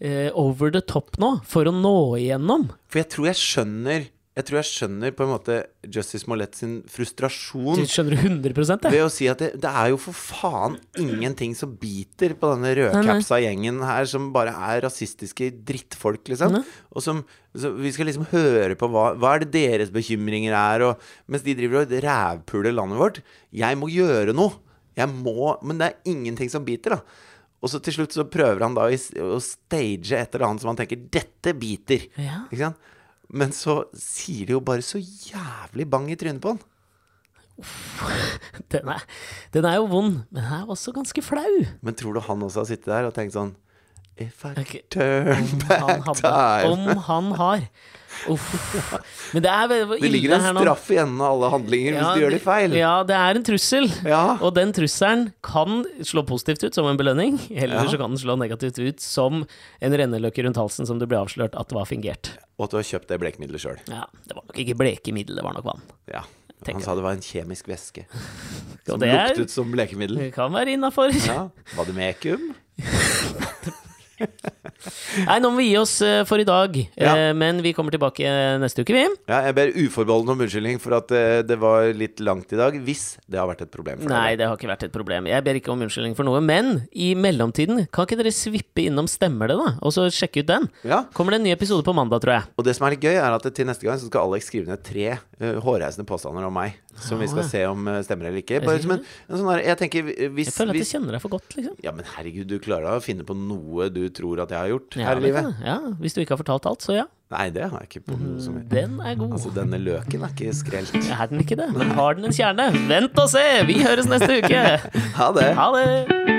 eh, over the top nå, for å nå igjennom.
For jeg tror jeg skjønner Jeg tror jeg skjønner på en måte Justice Smollett sin frustrasjon.
Du skjønner 100 det?
Ved å si at Mm. det, det er jo for faen ingenting som biter på denne
Nei, nei.
rødcapsa gjengen her, som bare er rasistiske drittfolk, liksom. Og som så Vi skal liksom høre på hva, hva er det deres bekymringer er, og mens de driver og rævpuler landet vårt. Jeg må gjøre noe. Jeg må Men det er ingenting som biter, da. Og så til slutt så prøver han da å is- å stage et eller annet som han tenker 'Dette biter'.
Ja.
Ikke sant? Men så sier de jo bare så jævlig bang i trynet på han.
den, er, den er jo vond, men den er også ganske flau.
Men tror du han også har sittet der og tenkt sånn If I
Ok.
turn
Han
back
hadde,
time
om han har. Uff. Men det er veldig ille
Det ligger en
her nå.
straff i enden av alle handlinger hvis du gjør det feil.
Ja, det er en trussel.
Ja.
Og den trusselen kan slå positivt ut som en belønning, eller
Ja.
så kan den slå negativt ut som en renneløkke rundt halsen som det ble avslørt at var fingert.
Og at du har kjøpt det blekemiddelet sjøl.
Ja, Det var nok ikke blekemiddel, det var nok vann.
Ja.
Tenker
Han sa det var en kjemisk væske
Og
som
det er-
luktet som blekemiddel.
Det kan være innafor.
Ja. Var det mekum?
Nei, nå må vi gi oss eh, for i dag,
Ja.
Eh, men vi kommer tilbake eh, neste uke, vi.
Ja, jeg ber uforbeholden om unnskyldning for at eh, det var litt langt i dag, hvis det har vært et problem for
Nei,
dere.
det har ikke vært et problem. Jeg ber ikke om unnskyldning for noe. Men i mellomtiden, kan ikke dere svippe innom Stemmer det, da? Og så sjekke ut den?
Ja,
Kommer det en ny episode på mandag, tror jeg.
og det som er litt gøy, er at til neste gang så skal Alex skrive ned tre eh, hårreisende påstander om meg, som vi
Ah.
skal se om eh, stemmer eller ikke. Bare som en, en sånn der, jeg tenker, eh, hvis,
Jeg føler at jeg
hvis
kjenner deg for godt, liksom.
Ja, men herregud, du klarer da å finne på noe du tror at jeg har gjort
Ja,
her i
vet
livet?
du det. Ja, hvis du ikke har fortalt alt, så ja.
Nei, det har jeg ikke på noe som
Den er god.
Altså, denne løken er ikke skrelt.
Er den ikke det? Men har den en kjerne? Vent og se! Vi høres neste uke!
Ha det!
Ha det!